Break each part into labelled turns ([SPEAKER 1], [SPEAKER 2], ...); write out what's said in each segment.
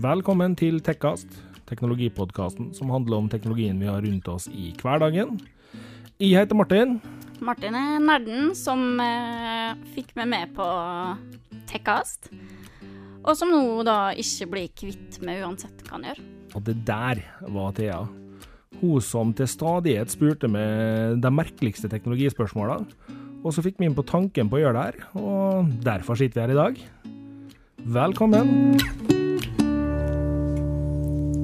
[SPEAKER 1] Velkommen til Tekkast, teknologipodkasten som handler om teknologien vi har rundt oss i hverdagen. Jeg heter Martin.
[SPEAKER 2] Martin er nerden som eh, fikk meg med på Tekkast. Og som nå da ikke blir kvitt med uansett hva han gjør.
[SPEAKER 1] Og det der var Thea. Hun som til stadighet spurte med de merkeligste teknologispørsmåla. Og så fikk vi inn på tanken på å gjøre det her, og derfor sitter vi her i dag. Velkommen.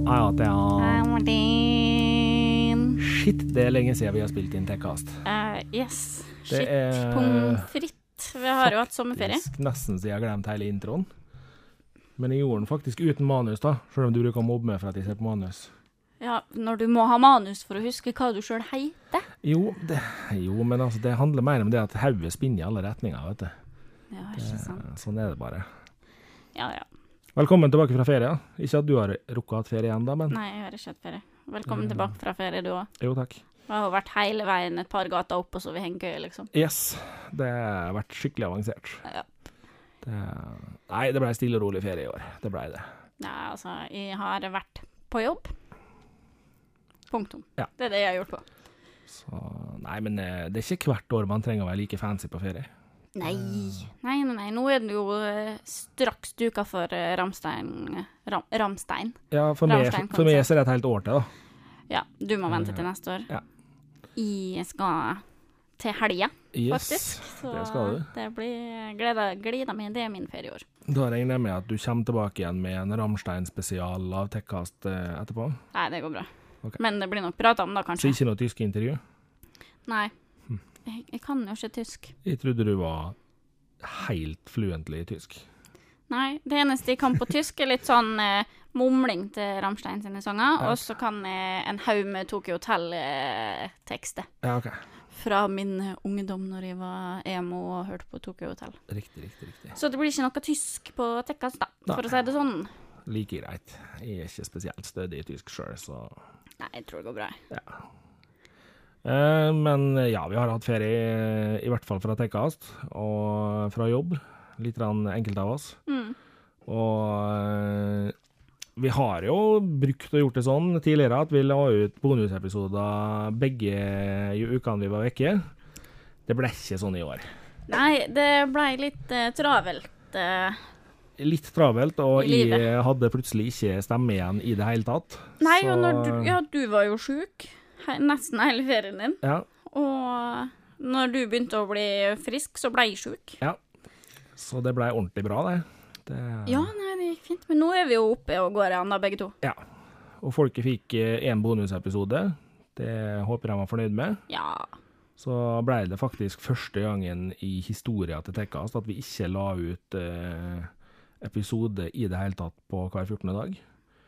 [SPEAKER 1] Ja, ja, Thea.
[SPEAKER 2] Hei, Martin.
[SPEAKER 1] Shit, det er lenge siden vi har spilt inn Tekkast.
[SPEAKER 2] Eh, yes.
[SPEAKER 1] Det
[SPEAKER 2] Shit,
[SPEAKER 1] er-
[SPEAKER 2] pommes frites. Vi har jo hatt sommerferie.
[SPEAKER 1] Faktisk Nesten så jeg har glemt hele introen. Men jeg gjorde den faktisk uten manus, da. Selv om du bruker å mobbe meg for at jeg ser på manus.
[SPEAKER 2] Ja, når du må ha manus for å huske hva du sjøl heter.
[SPEAKER 1] Jo, det, jo men altså, det handler mer om det at hodet spinner i alle retninger, vet du.
[SPEAKER 2] Ja, ikke sant.
[SPEAKER 1] Sånn er det bare.
[SPEAKER 2] Ja, ja.
[SPEAKER 1] Velkommen tilbake fra ferie. Ikke at du har rukket hatt ferie ennå, men
[SPEAKER 2] Nei, jeg har ikke hatt ferie. Velkommen tilbake fra ferie, du òg.
[SPEAKER 1] jo takk.
[SPEAKER 2] Vi har jo vært hele veien et par gater opp, og så vi henger gøy, liksom.
[SPEAKER 1] Yes, det har vært skikkelig avansert.
[SPEAKER 2] Ja.
[SPEAKER 1] Det, nei, det ble stille og rolig ferie i år. Det ble det.
[SPEAKER 2] Nei, altså, jeg har vært på jobb. Punktum.
[SPEAKER 1] Ja.
[SPEAKER 2] Det er det jeg har gjort på.
[SPEAKER 1] Så, nei, men eh, det er ikke hvert år man trenger å være like fancy på ferie.
[SPEAKER 2] Nei. Nei, nei, nei. Nå er det jo eh, straks duka for eh, Ramstein Ram, Ramstein.
[SPEAKER 1] Ja, for meg,
[SPEAKER 2] Rammstein
[SPEAKER 1] for meg så er det et helt år til, da.
[SPEAKER 2] Ja, du må vente til neste år.
[SPEAKER 1] Eh, Ja.
[SPEAKER 2] Jeg skal til helga,
[SPEAKER 1] Yes,
[SPEAKER 2] faktisk. Så
[SPEAKER 1] det skal du.
[SPEAKER 2] det blir eh, gleda, glida mi. Det er min ferie i år.
[SPEAKER 1] Da regner jeg med at du kommer tilbake igjen med en Ramstein-spesial av Tekkast eh, etterpå.
[SPEAKER 2] Nei, det går bra.
[SPEAKER 1] Ok.
[SPEAKER 2] Men det blir nok prata om da,
[SPEAKER 1] Så
[SPEAKER 2] kanskje.
[SPEAKER 1] ikke noe tysk intervju.
[SPEAKER 2] Nei.
[SPEAKER 1] Hm.
[SPEAKER 2] Jeg, jeg kan jo ikke tysk.
[SPEAKER 1] Jeg trodde du var helt fluentlig i tysk.
[SPEAKER 2] Nei, det eneste jeg kan på tysk, er litt sånn eh, mumling til Rammstein sine sanger.
[SPEAKER 1] Ja.
[SPEAKER 2] Og så kan jeg en haug med Tokyo Hotel-tekster.
[SPEAKER 1] Ja, OK.
[SPEAKER 2] Fra min ungdom når jeg var emo og hørte på Tokyo Hotel.
[SPEAKER 1] Riktig, riktig, riktig.
[SPEAKER 2] Så det blir ikke noe tysk på Tekkas, da, for
[SPEAKER 1] Nei.
[SPEAKER 2] å si det sånn.
[SPEAKER 1] Like greit. Jeg er ikke spesielt stødig i tysk sjøl, så
[SPEAKER 2] Nei, jeg tror det går bra.
[SPEAKER 1] ja. Eh, men ja, vi har hatt ferie, eh, i hvert fall fra Tekkast, og eh, fra jobb. Litt grann enkelte av oss.
[SPEAKER 2] Mm.
[SPEAKER 1] Og eh, vi har jo brukt og gjort det sånn tidligere at vi la ut bonusepisoder begge i ukene vi var vekke. Det ble ikke sånn i år.
[SPEAKER 2] Nei, det blei litt eh, travelt. eh.
[SPEAKER 1] Litt travelt, og
[SPEAKER 2] I livet.
[SPEAKER 1] jeg hadde plutselig ikke stemme igjen i det hele tatt.
[SPEAKER 2] Nei,
[SPEAKER 1] Så-
[SPEAKER 2] og når du Ja, du var jo sjuk he- nesten hele ferien din.
[SPEAKER 1] ja,
[SPEAKER 2] Og når du begynte å bli frisk, så blei jeg sjuk.
[SPEAKER 1] Så det ble ordentlig bra, det. det
[SPEAKER 2] Ja, nei, det gikk fint. Men nå er vi jo oppe og går igjen, da, begge to.
[SPEAKER 1] ja. Og folket fikk én bonusepisode. Det håper jeg de var fornøyd med.
[SPEAKER 2] Ja.
[SPEAKER 1] Så ble det faktisk første gangen i historien til Tekkast at vi ikke la ut eh, episode i det hele tatt på hver 14. dag.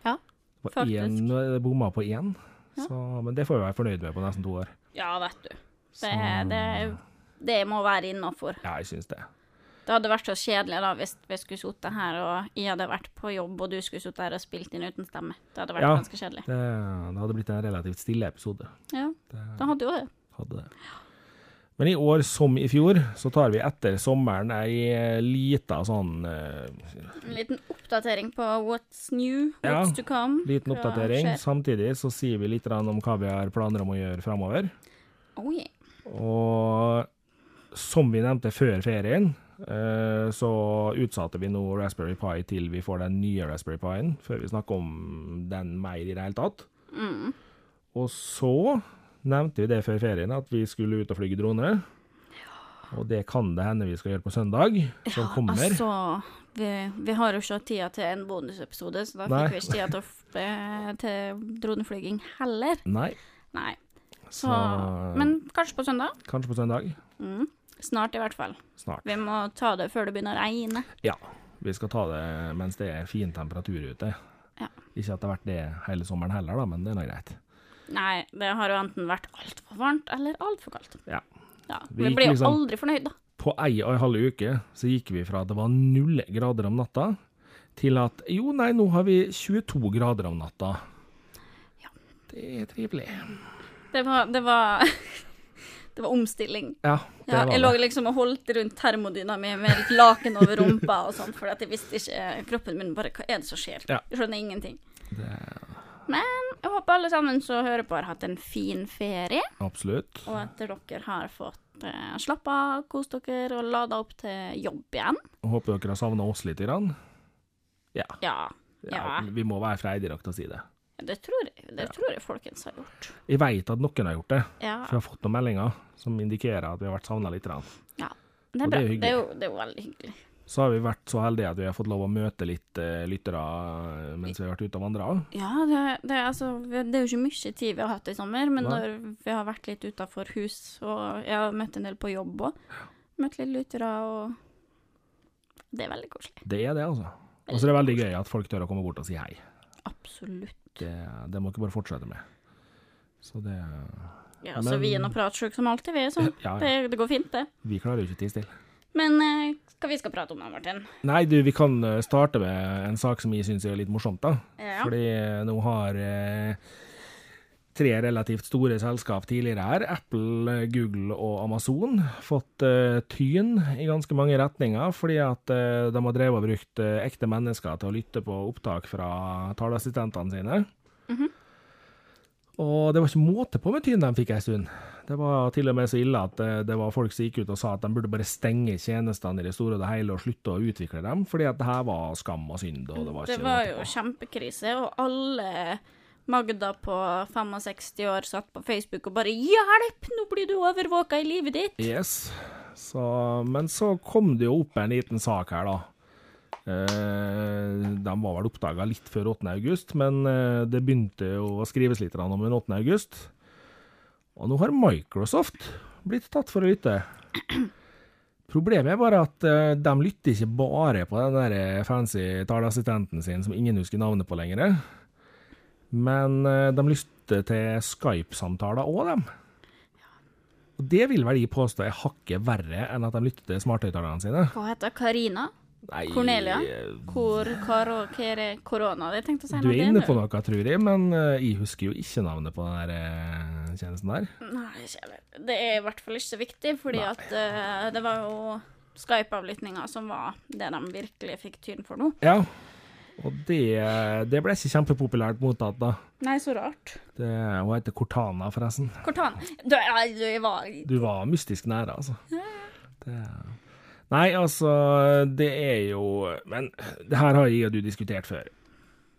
[SPEAKER 2] Ja,
[SPEAKER 1] det var
[SPEAKER 2] faktisk.
[SPEAKER 1] én, det bomma på én,
[SPEAKER 2] Ja.
[SPEAKER 1] så, men det får vi være fornøyd med på nesten to år.
[SPEAKER 2] Ja, vet du.
[SPEAKER 1] Så,
[SPEAKER 2] Det, det, det må være innafor.
[SPEAKER 1] Ja, jeg syns det.
[SPEAKER 2] Det hadde vært så kjedelig da hvis vi skulle sittet her og jeg hadde vært på jobb og du skulle sittet her og spilt inn uten stemme. Det hadde vært
[SPEAKER 1] Ja.
[SPEAKER 2] ganske kjedelig.
[SPEAKER 1] det. Det hadde blitt en relativt stille episode.
[SPEAKER 2] Ja,
[SPEAKER 1] Det
[SPEAKER 2] det hadde jo det.
[SPEAKER 1] hadde det. Men i år som i fjor, så tar vi etter sommeren ei lita sånn eh,
[SPEAKER 2] En liten oppdatering på what's new,
[SPEAKER 1] Ja.
[SPEAKER 2] what's to come.
[SPEAKER 1] liten
[SPEAKER 2] Hva
[SPEAKER 1] oppdatering.
[SPEAKER 2] skjer?
[SPEAKER 1] Samtidig så sier vi litt grann om hva vi har planer om å gjøre framover.
[SPEAKER 2] Oh, yeah.
[SPEAKER 1] Og som vi nevnte før ferien, eh, så utsatte vi nå Raspberry Pi til vi får den nye Raspberry Pien, før vi snakker om den mer i det hele tatt.
[SPEAKER 2] Mm.
[SPEAKER 1] Og så nevnte vi det før ferien, at vi skulle ut og flyge drone. Og det kan det hende vi skal gjøre på søndag, som
[SPEAKER 2] Ja,
[SPEAKER 1] kommer.
[SPEAKER 2] Altså, vi, vi har jo ikke hatt tida til en bonusepisode, så da
[SPEAKER 1] Nei.
[SPEAKER 2] fikk vi ikke tida til, å f- eh, til droneflyging heller.
[SPEAKER 1] Nei,
[SPEAKER 2] Nei.
[SPEAKER 1] så,
[SPEAKER 2] Så, men kanskje på søndag?
[SPEAKER 1] kanskje på søndag.
[SPEAKER 2] Mm. Snart, i hvert fall.
[SPEAKER 1] Snart.
[SPEAKER 2] Vi må ta det før det begynner å regne.
[SPEAKER 1] Ja, vi skal ta det mens det er fin temperatur ute.
[SPEAKER 2] Ja.
[SPEAKER 1] Ikke at det har vært det hele sommeren heller, da, men det er nå greit.
[SPEAKER 2] Nei, det har jo enten vært altfor varmt eller altfor kaldt.
[SPEAKER 1] Ja.
[SPEAKER 2] Ja,
[SPEAKER 1] Vi
[SPEAKER 2] Vi
[SPEAKER 1] gikk
[SPEAKER 2] blir jo
[SPEAKER 1] liksom-
[SPEAKER 2] aldri fornøyd, da.
[SPEAKER 1] På ei og ei halv uke så gikk vi fra at det var null grader om natta, til at jo, nei, nå har vi 22 grader om natta.
[SPEAKER 2] Ja.
[SPEAKER 1] Det er trivelig.
[SPEAKER 2] Det var Det var, Det var omstilling.
[SPEAKER 1] Ja, det
[SPEAKER 2] Ja, jeg lå
[SPEAKER 1] var det.
[SPEAKER 2] liksom og holdt rundt termodyna mi med et laken over rumpa og sånn, for at jeg visste ikke Kroppen min bare Hva er det som skjer?
[SPEAKER 1] Ja.
[SPEAKER 2] Jeg skjønner ingenting. Men jeg håper alle sammen som hører på, har hatt en fin ferie,
[SPEAKER 1] Absolutt.
[SPEAKER 2] og at dere har fått eh, slappa av, kost dere og lada opp til jobb igjen.
[SPEAKER 1] Håper dere har savna oss lite grann. Ja.
[SPEAKER 2] Ja.
[SPEAKER 1] ja.
[SPEAKER 2] Ja.
[SPEAKER 1] Vi må være freidige nok til å si det.
[SPEAKER 2] Det tror jeg, det tror jeg folkens har gjort.
[SPEAKER 1] Jeg veit at noen har gjort det,
[SPEAKER 2] Ja.
[SPEAKER 1] for jeg har fått noen meldinger som indikerer at vi har vært savna litt. grann.
[SPEAKER 2] ja.
[SPEAKER 1] Og
[SPEAKER 2] Det er bra.
[SPEAKER 1] det er jo
[SPEAKER 2] Det er jo, det er jo veldig hyggelig.
[SPEAKER 1] Så har vi vært så heldige at vi har fått lov å møte litt eh, lyttere eh, mens vi har vært ute og vandra.
[SPEAKER 2] Ja, det, det, er altså, vi- det er jo ikke mye tid vi har hatt i sommer, men
[SPEAKER 1] Nei.
[SPEAKER 2] når vi har vært litt utafor hus, og jeg har møtt en del på jobb òg, møtt litt lyttere, og det er veldig koselig.
[SPEAKER 1] Det er det, altså. Og så er det veldig gøy at folk tør å komme bort og si hei.
[SPEAKER 2] Absolutt.
[SPEAKER 1] Det, det må dere bare fortsette med. Så det
[SPEAKER 2] Ja, så vi er nå pratsjuke som alltid, vi, så
[SPEAKER 1] Ja, ja.
[SPEAKER 2] det, det går fint, det.
[SPEAKER 1] Vi klarer jo ikke tid stille.
[SPEAKER 2] Men eh, hva vi skal prate om da, Martin?
[SPEAKER 1] Nei, du, vi kan eh, starte med en sak som jeg syns er litt morsomt, da.
[SPEAKER 2] Ja.
[SPEAKER 1] Fordi nå har eh, tre relativt store selskap tidligere her, Apple, eh, Google og Amazon, fått eh, tyn i ganske mange retninger fordi at eh, de har drevet og brukt eh, ekte mennesker til å lytte på opptak fra taleassistentene sine.
[SPEAKER 2] Mhm.
[SPEAKER 1] Og det var ikke måte på med tyn de fikk ei stund. Det var til og med så ille at eh, det var folk som gikk ut og sa at de burde bare stenge tjenestene i det store og det hele og slutte å utvikle dem, fordi at det her var skam og synd, og det var ikke
[SPEAKER 2] Det var
[SPEAKER 1] måte
[SPEAKER 2] jo
[SPEAKER 1] på.
[SPEAKER 2] kjempekrise, og alle Magda på 65 år satt på Facebook og bare 'Hjelp, nå blir du overvåka i livet ditt'.
[SPEAKER 1] Yes. Så, men så kom det jo opp en liten sak her, da. Eh, de var vel oppdaga litt før 8. august, men eh, det begynte jo å skrives litt grann om den 8. august. Og nå har Microsoft blitt tatt for å lytte. Problemet er bare at eh, de lytter ikke bare på den der eh, fancy taleassistenten sin som ingen husker navnet på lenger, men eh, de lytter til Skype-samtaler òg, dem. Og det vil vel de påstå er hakket verre enn at de lytter til smarthøyttalerne sine.
[SPEAKER 2] Hva heter Karina?
[SPEAKER 1] Nei,
[SPEAKER 2] Cornelia?
[SPEAKER 1] eh,
[SPEAKER 2] Hvor, hva, hva er det korona? Det tenkte jeg å si
[SPEAKER 1] Du er inne på
[SPEAKER 2] nå.
[SPEAKER 1] noe, tror jeg, men eh, jeg husker jo ikke navnet på den der eh, tjenesten der.
[SPEAKER 2] Nei, ikke heller. Det er i hvert fall ikke så viktig, fordi at eh, det var jo Skype-avlyttinga som var det de virkelig fikk tyn for nå.
[SPEAKER 1] Ja, og det, eh, det ble ikke kjempepopulært mottatt, da.
[SPEAKER 2] Nei, så rart.
[SPEAKER 1] Det, hun heter Cortana, forresten.
[SPEAKER 2] Cortana Du, nei, du jeg var
[SPEAKER 1] Du var mystisk nære, altså. Det, nei, altså, det er jo Men det her har jeg og du diskutert før.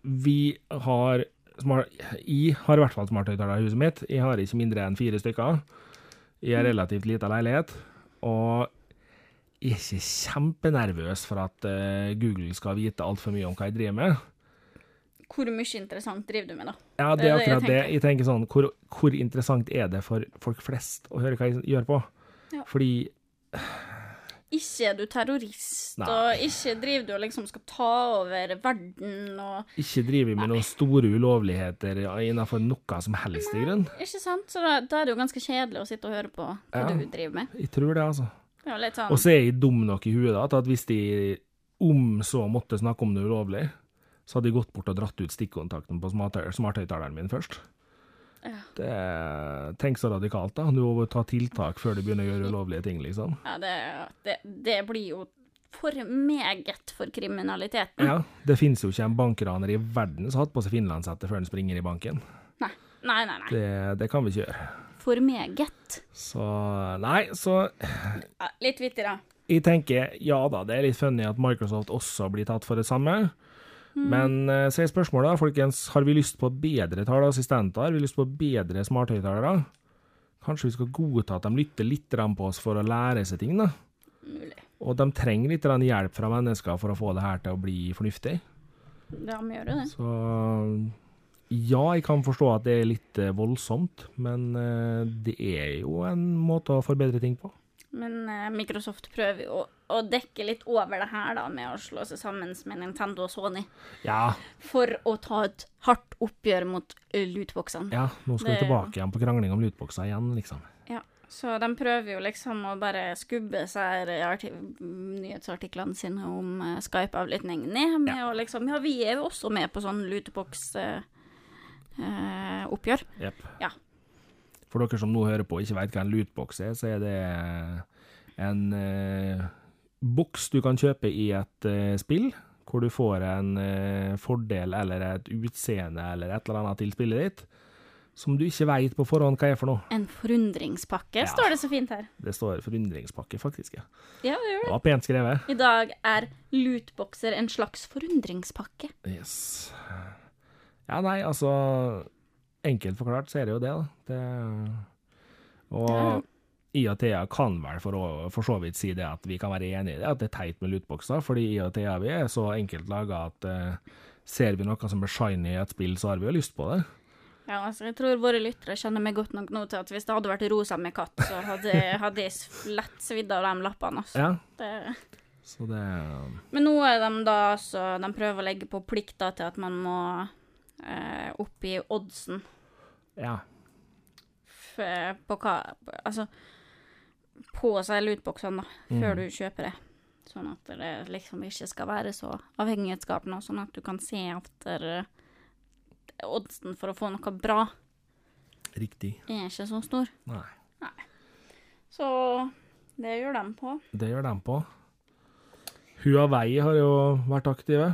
[SPEAKER 1] Vi har smart, Jeg har i hvert fall smarthøyttaler i huset mitt. Jeg har ikke mindre enn fire stykker. I en relativt lita leilighet. Og jeg er ikke kjempenervøs for at eh, Google skal vite altfor mye om hva jeg driver med.
[SPEAKER 2] Hvor mye interessant driver du med, da?
[SPEAKER 1] Ja, det er
[SPEAKER 2] Det er det jeg
[SPEAKER 1] akkurat det. Jeg tenker sånn, hvor, hvor interessant er det for folk flest å høre hva jeg gjør på?
[SPEAKER 2] Ja.
[SPEAKER 1] Fordi
[SPEAKER 2] Ikke er du terrorist,
[SPEAKER 1] Nei.
[SPEAKER 2] og ikke driver du og liksom skal ta over verden og
[SPEAKER 1] ikke driver med noen store ulovligheter innenfor noe som helst i grunn.
[SPEAKER 2] Ikke sant? Så da, da er det jo ganske kjedelig å sitte og høre på hva
[SPEAKER 1] Ja.
[SPEAKER 2] du driver med.
[SPEAKER 1] Jeg tror det, altså.
[SPEAKER 2] Det er jo litt sånn
[SPEAKER 1] Og så er jeg dum nok i huet da, til at hvis de om så måtte snakke om det ulovlig, så hadde jeg gått bort og dratt ut stikkontakten på smart- smarthøyttaleren min først.
[SPEAKER 2] Ja.
[SPEAKER 1] Det, tenk så radikalt, da. Du må ta tiltak før du begynner å gjøre ulovlige ting, liksom.
[SPEAKER 2] Ja, det, det, det blir jo for meget for kriminaliteten.
[SPEAKER 1] Ja, Det finnes jo ikke en bankraner i verden som har hatt på seg finlandshette før han springer i banken.
[SPEAKER 2] Nei, nei, nei. nei.
[SPEAKER 1] Det, det kan vi ikke gjøre.
[SPEAKER 2] For meget.
[SPEAKER 1] Så nei, så
[SPEAKER 2] Ja, litt vittig, da.
[SPEAKER 1] jeg tenker ja da, det er litt funny at Microsoft også blir tatt for det samme. Men eh, så er spørsmålet, da, folkens, har vi lyst på bedre taleassistenter? Har vi lyst på bedre smarthøyttalere? Kanskje vi skal godta at de lytter litt grann på oss for å lære seg ting, da?
[SPEAKER 2] Mulig.
[SPEAKER 1] Og de trenger litt grann hjelp fra mennesker for å få det her til å bli fornuftig.
[SPEAKER 2] Da må vi gjøre det.
[SPEAKER 1] Så ja, jeg kan forstå at det er litt eh, voldsomt, men eh, det er jo en måte å forbedre ting på.
[SPEAKER 2] Men eh, Microsoft prøver jo å, å dekke litt over det her, da, med å slå seg sammen med Nintendo og Sony.
[SPEAKER 1] Ja,
[SPEAKER 2] For å ta et hardt oppgjør mot eh, lootboxene.
[SPEAKER 1] ja nå skal
[SPEAKER 2] Det-
[SPEAKER 1] vi tilbake igjen på krangling om lootboxa igjen, liksom.
[SPEAKER 2] Ja, så de prøver jo liksom å bare skubbe seg her i arti- nyhetsartiklene sine om eh, Skype-avlytting ned med å liksom Ja, vi er jo også eh, med på sånn luteboks-oppgjør.
[SPEAKER 1] Jepp.
[SPEAKER 2] ja.
[SPEAKER 1] For dere som nå hører på og ikke veit hva en lootbox er, så er det en eh, boks du kan kjøpe i et eh, spill, hvor du får en eh, fordel eller et utseende eller et eller annet til spillet ditt, som du ikke veit på forhånd hva er for noe.
[SPEAKER 2] En forundringspakke,
[SPEAKER 1] Ja.
[SPEAKER 2] står det så fint her.
[SPEAKER 1] Det står forundringspakke, faktisk. ja.
[SPEAKER 2] Ja, det gjør det.
[SPEAKER 1] Det var pent skrevet.
[SPEAKER 2] I dag er lootboxer en slags forundringspakke.
[SPEAKER 1] Yes. Ja, nei, altså Enkelt forklart så er det jo det, da. Det, og
[SPEAKER 2] Ja.
[SPEAKER 1] I og Thea kan vel for, å, for så vidt si det at vi kan være enige i det, at det er teit med lootboxer, fordi I og Thea vi er så enkelt laga at eh, ser vi noe som er shiny i et spill, så har vi jo lyst på det.
[SPEAKER 2] Ja, altså, jeg tror våre lyttere kjenner meg godt nok nå til at hvis det hadde vært rosa med katt, så hadde, hadde jeg s- lett svidd av de lappene. Altså.
[SPEAKER 1] Ja,
[SPEAKER 2] Det-
[SPEAKER 1] så det
[SPEAKER 2] Men nå er de da altså De prøver å legge på plikter til at man må eh, oppgi oddsen
[SPEAKER 1] Ja.
[SPEAKER 2] f på hva Altså på seg lootboxene, da, før du kjøper det. Sånn at det liksom ikke skal være så avhengighetsskapende, og sånn at du kan se etter eh, oddsen for å få noe bra.
[SPEAKER 1] Riktig.
[SPEAKER 2] Er ikke så stor.
[SPEAKER 1] Nei.
[SPEAKER 2] Så det gjør de på.
[SPEAKER 1] Det gjør de på. Huawei har jo vært aktive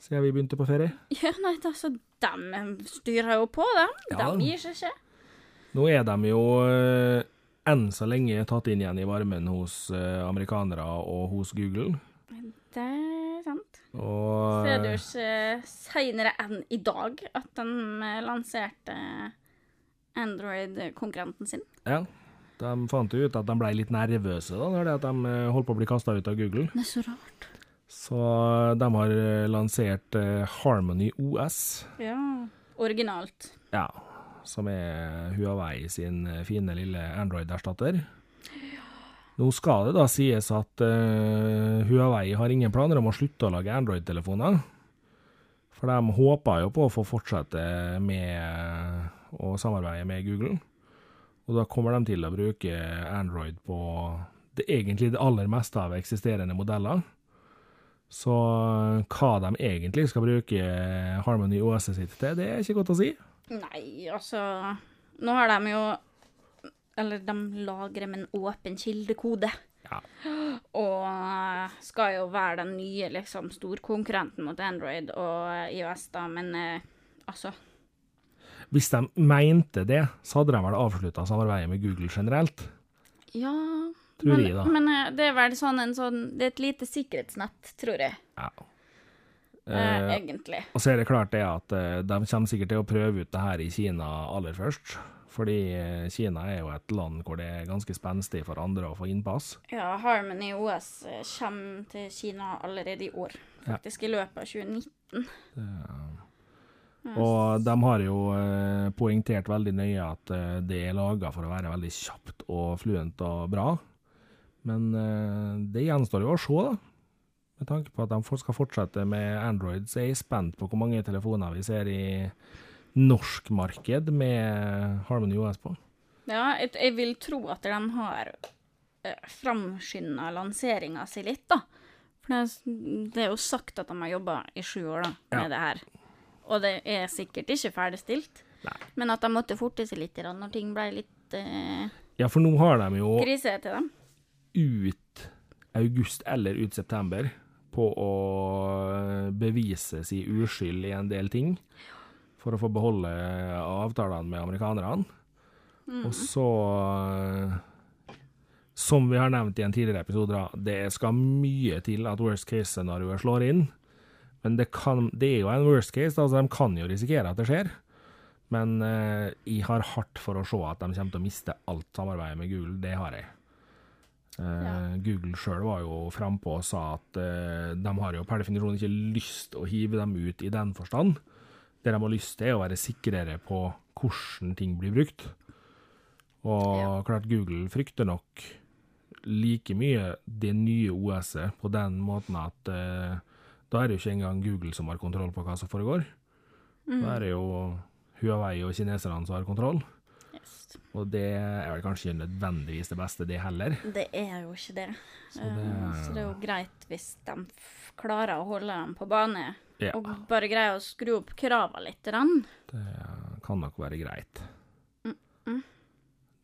[SPEAKER 1] siden vi begynte på ferie.
[SPEAKER 2] Ja, nei, altså, de styrer jo på, dem.
[SPEAKER 1] Ja.
[SPEAKER 2] De gir seg ikke.
[SPEAKER 1] Nå er de jo eh, enn så lenge tatt inn igjen i varmen hos eh, amerikanere og hos Google.
[SPEAKER 2] Det er sant.
[SPEAKER 1] Og eh,
[SPEAKER 2] Så er det jo ikke seinere enn i dag at de eh, lanserte Android-konkurrenten sin.
[SPEAKER 1] ja, de fant jo ut at de ble litt nervøse da, når det at de eh, holdt på å bli kasta ut av Google.
[SPEAKER 2] Det er så rart.
[SPEAKER 1] Så de har eh, lansert eh, Harmony OS,
[SPEAKER 2] Ja. Originalt.
[SPEAKER 1] ja, som er Huawei sin eh, fine lille Android-erstatter. Nå skal det da sies at eh, Huawei har ingen planer om å slutte å lage Android-telefoner. For de håper jo på å få fortsette med å samarbeide med Google. Og da kommer de til å bruke Android på det, egentlig det aller meste av eksisterende modeller. Så eh, hva de egentlig skal bruke eh, Harmony OS sitt til, det er ikke godt å si.
[SPEAKER 2] Nei, altså Nå har de jo Eller de lagrer med en åpen kildekode.
[SPEAKER 1] Ja.
[SPEAKER 2] Og eh, skal jo være den nye liksom, storkonkurrenten mot Android og IOS, da, men eh, altså
[SPEAKER 1] Hvis de mente det, så hadde de vel avslutta samarbeidet med Google generelt.
[SPEAKER 2] Ja.
[SPEAKER 1] Tror
[SPEAKER 2] men,
[SPEAKER 1] jeg, da.
[SPEAKER 2] Men eh, det er vel sånn en sånn Det er et lite sikkerhetsnett, tror jeg.
[SPEAKER 1] Ja.
[SPEAKER 2] Eh,
[SPEAKER 1] Eh,
[SPEAKER 2] egentlig.
[SPEAKER 1] Og så er det klart det at eh, de kommer sikkert til å prøve ut det her i Kina aller først. Fordi eh, Kina er jo et land hvor det er ganske spenstig for andre å få innpass.
[SPEAKER 2] Ja, Harmony OS eh, kommer til Kina allerede i år.
[SPEAKER 1] Ja.
[SPEAKER 2] Faktisk i løpet av 2019.
[SPEAKER 1] Og de har jo eh, poengtert veldig nøye at eh, det er laga for å være veldig kjapt og fluent og bra. Men eh, det gjenstår jo å se, da. Med tanke på at de for- skal fortsette med Android, så er jeg spent på hvor mange telefoner vi ser i norsk marked med Harmony OS på.
[SPEAKER 2] Ja, jeg, jeg vil tro at de har eh, framskynda lanseringa si litt, da. For det, er s- det er jo sagt at de har jobba i sju år da, med
[SPEAKER 1] Ja.
[SPEAKER 2] det her. Og det er sikkert ikke ferdigstilt. Men at de måtte forte seg litt grann når ting ble litt eh,
[SPEAKER 1] Ja, for nå har de jo
[SPEAKER 2] krise til dem.
[SPEAKER 1] ut august eller ut september på å eh, bevise si uskyld i en del ting for å få beholde avtalene med amerikanerne. Og så, eh, som vi har nevnt i en tidligere episode, da, det skal mye til at worst case-scenarioet slår inn. Men det, kan, det er jo en worst case, da, så de kan jo risikere at det skjer. Men eh, jeg har hardt for å se at de kommer til å miste alt samarbeidet med Google, det har jeg. Eh,
[SPEAKER 2] Ja.
[SPEAKER 1] Google sjøl var jo frampå og sa at eh, de har jo per definisjon ikke lyst å hive dem ut i den forstand. Det de har lyst til, er å være sikrere på hvordan ting blir brukt. Og klart Google frykter nok like mye det nye OS-et på den måten at eh, da er det jo ikke engang Google som har kontroll på hva som foregår. Da er det jo Huawei og kineserne som har kontroll,
[SPEAKER 2] Yes.
[SPEAKER 1] og det er vel kanskje ikke nødvendigvis det beste, det heller.
[SPEAKER 2] Det er jo ikke det. Så det,
[SPEAKER 1] det-
[SPEAKER 2] så det er jo greit hvis de f- klarer å holde dem på bane,
[SPEAKER 1] Ja.
[SPEAKER 2] og bare greier å skru opp kravene litt. grann.
[SPEAKER 1] Det kan nok være greit.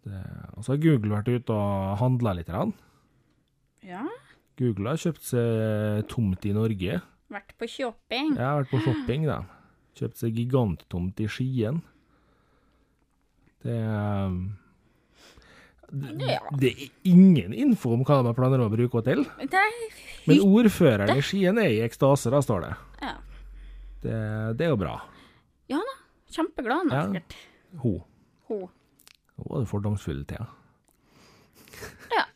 [SPEAKER 1] Det, og så har Google vært ute og handla litt. grann.
[SPEAKER 2] Ja.
[SPEAKER 1] Google har kjøpt seg tomt i Norge.
[SPEAKER 2] Vært på shopping.
[SPEAKER 1] Jeg har vært på shopping, da. Kjøpt seg giganttomt i Skien. Det um, det,
[SPEAKER 2] Ja.
[SPEAKER 1] det er ingen info om hva de har planer om å bruke henne til.
[SPEAKER 2] Det er
[SPEAKER 1] Men ordføreren i Skien er i ekstase, da står det.
[SPEAKER 2] ja.
[SPEAKER 1] Det, det er jo bra.
[SPEAKER 2] ja da. Kjempeglad nå,
[SPEAKER 1] Ja.
[SPEAKER 2] sikkert.
[SPEAKER 1] Hun.
[SPEAKER 2] Hun.
[SPEAKER 1] Hun var jo fordomsfull til. ja.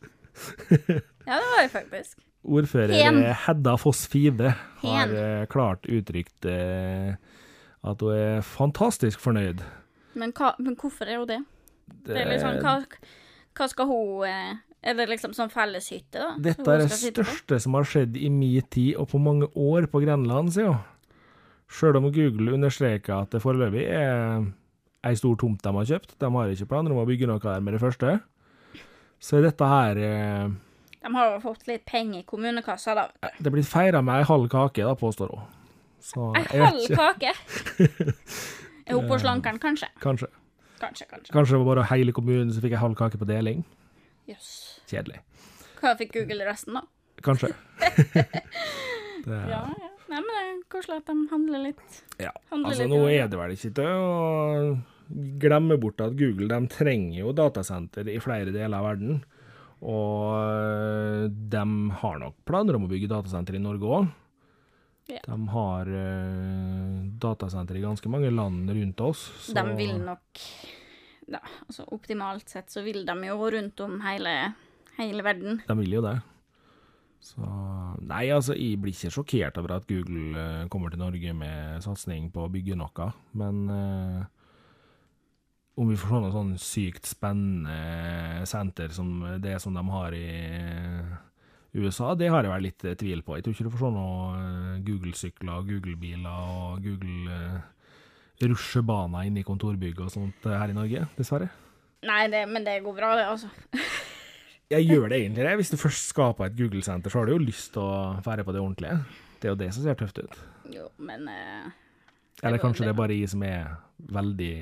[SPEAKER 2] Ja, det var jeg faktisk.
[SPEAKER 1] Ordfører
[SPEAKER 2] Hen.
[SPEAKER 1] eh, Hedda Foss Five har
[SPEAKER 2] Hen.
[SPEAKER 1] eh, klart uttrykt eh, at hun er fantastisk fornøyd.
[SPEAKER 2] Men, hva, men hvorfor er hun det? Det er liksom,
[SPEAKER 1] Det-
[SPEAKER 2] hva, hva skal hun eh, Er det liksom sånn felleshytte, da?
[SPEAKER 1] Eh, Dette
[SPEAKER 2] hun
[SPEAKER 1] er det
[SPEAKER 2] skal sitte på?
[SPEAKER 1] største som har skjedd i min tid og på mange år på Grenland, sier hun. Sjøl om Google understreker at det foreløpig er ei stor tomt de har kjøpt, de har ikke planer om å bygge noe der med det første, så er dette her eh,
[SPEAKER 2] De har jo fått litt penger i kommunekassa, da. vet
[SPEAKER 1] Det er blitt feira med ei halv kake, da, påstår hun. Så
[SPEAKER 2] du. Ei
[SPEAKER 1] jeg vet
[SPEAKER 2] halv
[SPEAKER 1] ikke. Eh.
[SPEAKER 2] kake! Er hun på slankeren, kanskje?
[SPEAKER 1] Kanskje.
[SPEAKER 2] Kanskje, kanskje.
[SPEAKER 1] Kanskje det var bare hele kommunen som fikk ei halv kake på deling.
[SPEAKER 2] Jøss.
[SPEAKER 1] Kjedelig.
[SPEAKER 2] Hva fikk Google resten, da?
[SPEAKER 1] Kanskje. det,
[SPEAKER 2] Ja, ja. Nei, men det er koselig at de handler litt.
[SPEAKER 1] Ja,
[SPEAKER 2] Handle
[SPEAKER 1] altså
[SPEAKER 2] litt
[SPEAKER 1] nå
[SPEAKER 2] om det.
[SPEAKER 1] er det vel ikke til å glemme bort at Google de trenger jo datasenter i flere deler av verden. Og de har nok planer om å bygge datasenter i Norge òg.
[SPEAKER 2] Ja.
[SPEAKER 1] De har eh, datasenter i ganske mange land rundt oss. så-
[SPEAKER 2] De vil nok ja, altså Optimalt sett så vil de jo rundt om hele, hele verden.
[SPEAKER 1] De vil jo det. Så Nei, altså, jeg blir ikke sjokkert over at Google eh, kommer til Norge med satsing på å bygge noe, men eh, om vi får se noe sånn sykt spennende senter som det som de har i USA, det har jeg vel litt eh, tvil på. Jeg tror ikke du får se noe eh, Google-sykler og Google-biler og Google eh, rusjebaner inne i kontorbygg og sånt eh, her i Norge, dessverre.
[SPEAKER 2] Nei, det, men det går bra, det, altså.
[SPEAKER 1] Jeg gjør det egentlig, det. Hvis du først skaper et Google-senter, så har du jo lyst til å fære på det ordentlige. Det er jo det som ser tøft ut.
[SPEAKER 2] Jo, men eh,
[SPEAKER 1] Eller
[SPEAKER 2] Det går
[SPEAKER 1] kanskje det er bare jeg som er veldig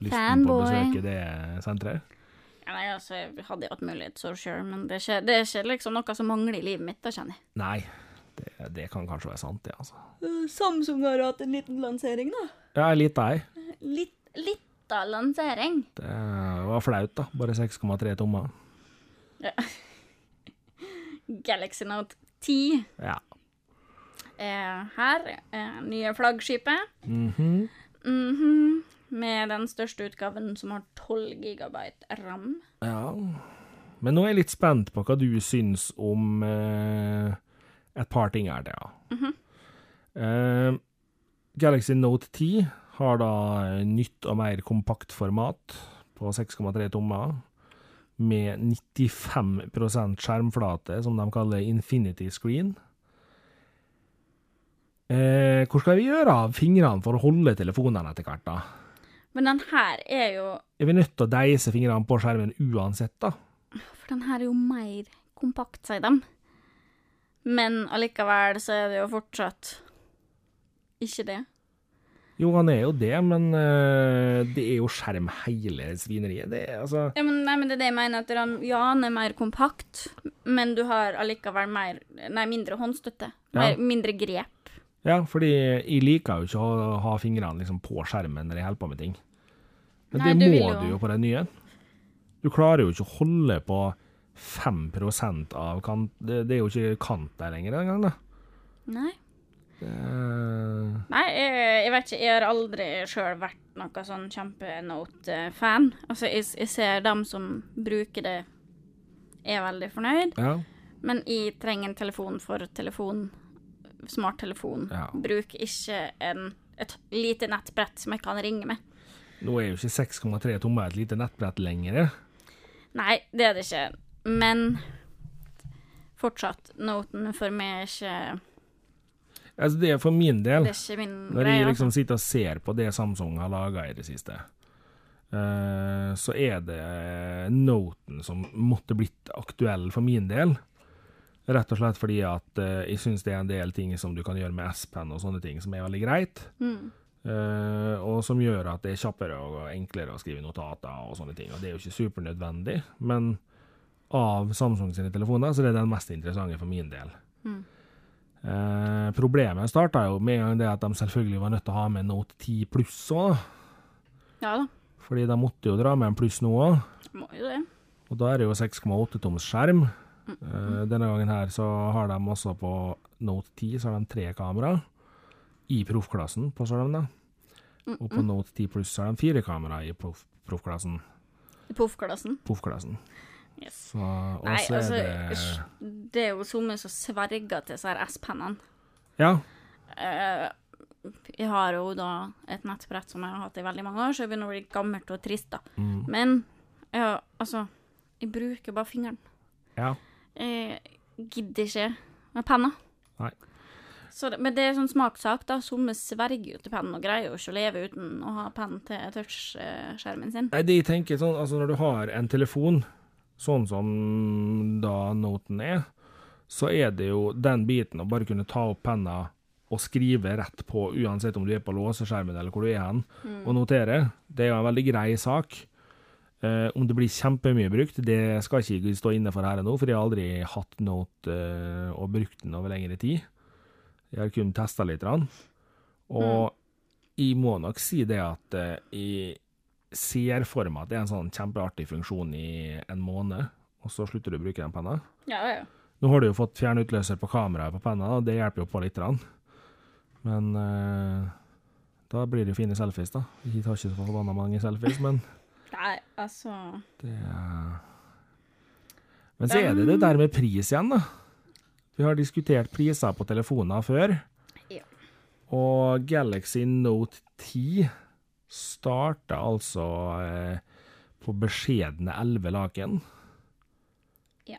[SPEAKER 1] lysten på å
[SPEAKER 2] Fanboy.
[SPEAKER 1] besøke det senteret.
[SPEAKER 2] ja, Nei, altså, jeg hadde jo hatt mulighet, så sure, men det er, ikke, det er ikke liksom noe som mangler i livet mitt, da, kjenner jeg.
[SPEAKER 1] Nei, det, det kan kanskje være sant, det, altså.
[SPEAKER 2] Eh, Samsung har hatt en liten lansering, da.
[SPEAKER 1] Ja, jeg litt ei.
[SPEAKER 2] Litt, litt av lansering.
[SPEAKER 1] Det var flaut, da. Bare 6,3 tommer.
[SPEAKER 2] Galaxy Note 10
[SPEAKER 1] Ja.
[SPEAKER 2] er her. Eh, nye flaggskipet.
[SPEAKER 1] Mhm.
[SPEAKER 2] Mhm. Med den største utgaven som har 12 gigabyte ram.
[SPEAKER 1] Ja. Men nå er jeg litt spent på hva du syns om eh, et par ting her, Thea. Eh, Galaxy Note 10 har da eh, nytt og mer kompakt format på 6,3 tommer, med 95 skjermflate, som de kaller infinity screen. Eh, hvor skal vi gjøre av fingrene for å holde telefonene etter hvert, da?
[SPEAKER 2] Men den her er jo
[SPEAKER 1] Er vi nødt til å deise fingrene på skjermen uansett, da?
[SPEAKER 2] For den her er jo mer kompakt, sier de. Men allikevel så er det jo fortsatt ikke det.
[SPEAKER 1] Jo, han er jo det, men eh, det er jo skjerm hele svineriet. Det er altså
[SPEAKER 2] Ja, men, nei, men det er det jeg mener, at den, ja, den er mer kompakt, men du har allikevel mer, nei, mindre håndstøtte. Mer,
[SPEAKER 1] Ja.
[SPEAKER 2] Mindre grep.
[SPEAKER 1] Ja, fordi jeg liker jo ikke å ha fingrene liksom på skjermen når jeg holder på med ting. Men
[SPEAKER 2] Nei,
[SPEAKER 1] det
[SPEAKER 2] du vil
[SPEAKER 1] må
[SPEAKER 2] jo-
[SPEAKER 1] du jo på den nye. Du klarer jo ikke å holde på 5 av kant det, det er jo ikke kant der lenger engang, da.
[SPEAKER 2] Nei.
[SPEAKER 1] Eh,
[SPEAKER 2] Nei, jeg, jeg vet ikke, jeg har aldri sjøl vært noe sånn kjempenote-fan. Altså, jeg, jeg ser dem som bruker det, er veldig fornøyd,
[SPEAKER 1] ja.
[SPEAKER 2] men jeg trenger en telefon for telefon, smarttelefon.
[SPEAKER 1] Ja.
[SPEAKER 2] Bruk ikke en, et lite nettbrett som jeg kan ringe med.
[SPEAKER 1] Nå er jo ikke 6,3 tommer et lite nettbrett lenger.
[SPEAKER 2] Nei, det er det ikke. Men fortsatt, noten for meg er ikke
[SPEAKER 1] Altså, det er for min del.
[SPEAKER 2] Det er ikke min
[SPEAKER 1] Når jeg
[SPEAKER 2] altså.
[SPEAKER 1] liksom sitter og ser på det Samsung har laga i det siste, eh, så er det noten som måtte blitt aktuell for min del. Rett og slett fordi at eh, jeg syns det er en del ting som du kan gjøre med S-Pen og sånne ting, som er veldig greit.
[SPEAKER 2] Mm.
[SPEAKER 1] Eh, og som gjør at det er kjappere og enklere å skrive notater og sånne ting. Og det er jo ikke supernødvendig, men av Samsung sine telefoner så er det den mest interessante for min del.
[SPEAKER 2] Mm.
[SPEAKER 1] Eh, problemet starta jo med en gang det at de selvfølgelig var nødt til å ha med Note 10 pluss òg,
[SPEAKER 2] Ja da,
[SPEAKER 1] fordi de måtte jo dra med en pluss nå òg.
[SPEAKER 2] må jo det.
[SPEAKER 1] Og da er det jo 6,8 toms skjerm. Eh, denne gangen her så har de også på Note 10 så har de tre kamera. I proffklassen, påstår de da. Og på Note 10 pluss så har de fire kamera i proff- proffklassen.
[SPEAKER 2] I Proffklassen.
[SPEAKER 1] Proffklassen.
[SPEAKER 2] Yes.
[SPEAKER 1] Så, og
[SPEAKER 2] Nei,
[SPEAKER 1] så er
[SPEAKER 2] altså,
[SPEAKER 1] det
[SPEAKER 2] sj- det er jo som som sverger til disse her S-pennene.
[SPEAKER 1] Ja.
[SPEAKER 2] Eh, jeg har jo da et nettbrett som jeg har hatt i veldig mange år, så jeg begynner å bli gammelt og trist, da.
[SPEAKER 1] Mm,
[SPEAKER 2] Men ja, altså Jeg bruker bare fingeren.
[SPEAKER 1] ja.
[SPEAKER 2] Jeg Eh, gidder ikke med penna.
[SPEAKER 1] Nei.
[SPEAKER 2] Så det, men det er sånn smakssak, da. Somme sverger jo til pennen og greier jo ikke å leve uten å ha pennen til touchskjermen sin.
[SPEAKER 1] Nei, de tenker sånn, altså når du har en telefon, sånn som da noten er, så er det jo den biten å bare kunne ta opp penna og skrive rett på, uansett om du er på låseskjermen eller hvor du er hen, og notere. Det er jo en veldig grei sak. Eh, om det blir kjempemye brukt, det skal ikke jeg stå inne for her og nå, for jeg har aldri hatt note eh, og brukt den over lengre tid. Jeg har kun testa litt. grann. Og jeg må nok si det at eh, jeg ser for meg at det er en sånn kjempeartig funksjon i en måned, og så slutter du å bruke den penna.
[SPEAKER 2] Ja, ja.
[SPEAKER 1] Nå har du jo fått fjernutløser på kameraet på penna, og det hjelper jo på litt. grann. Men eh, da blir det jo fine selfies, da. Jeg tar ikke så forbanna mange selfies, men
[SPEAKER 2] Nei, altså
[SPEAKER 1] det er Men så er det det der med pris igjen, da. Vi har diskutert priser på telefoner før.
[SPEAKER 2] Ja.
[SPEAKER 1] Og Galaxy Note 10 starta altså eh, på beskjedne 11 laken.
[SPEAKER 2] Ja.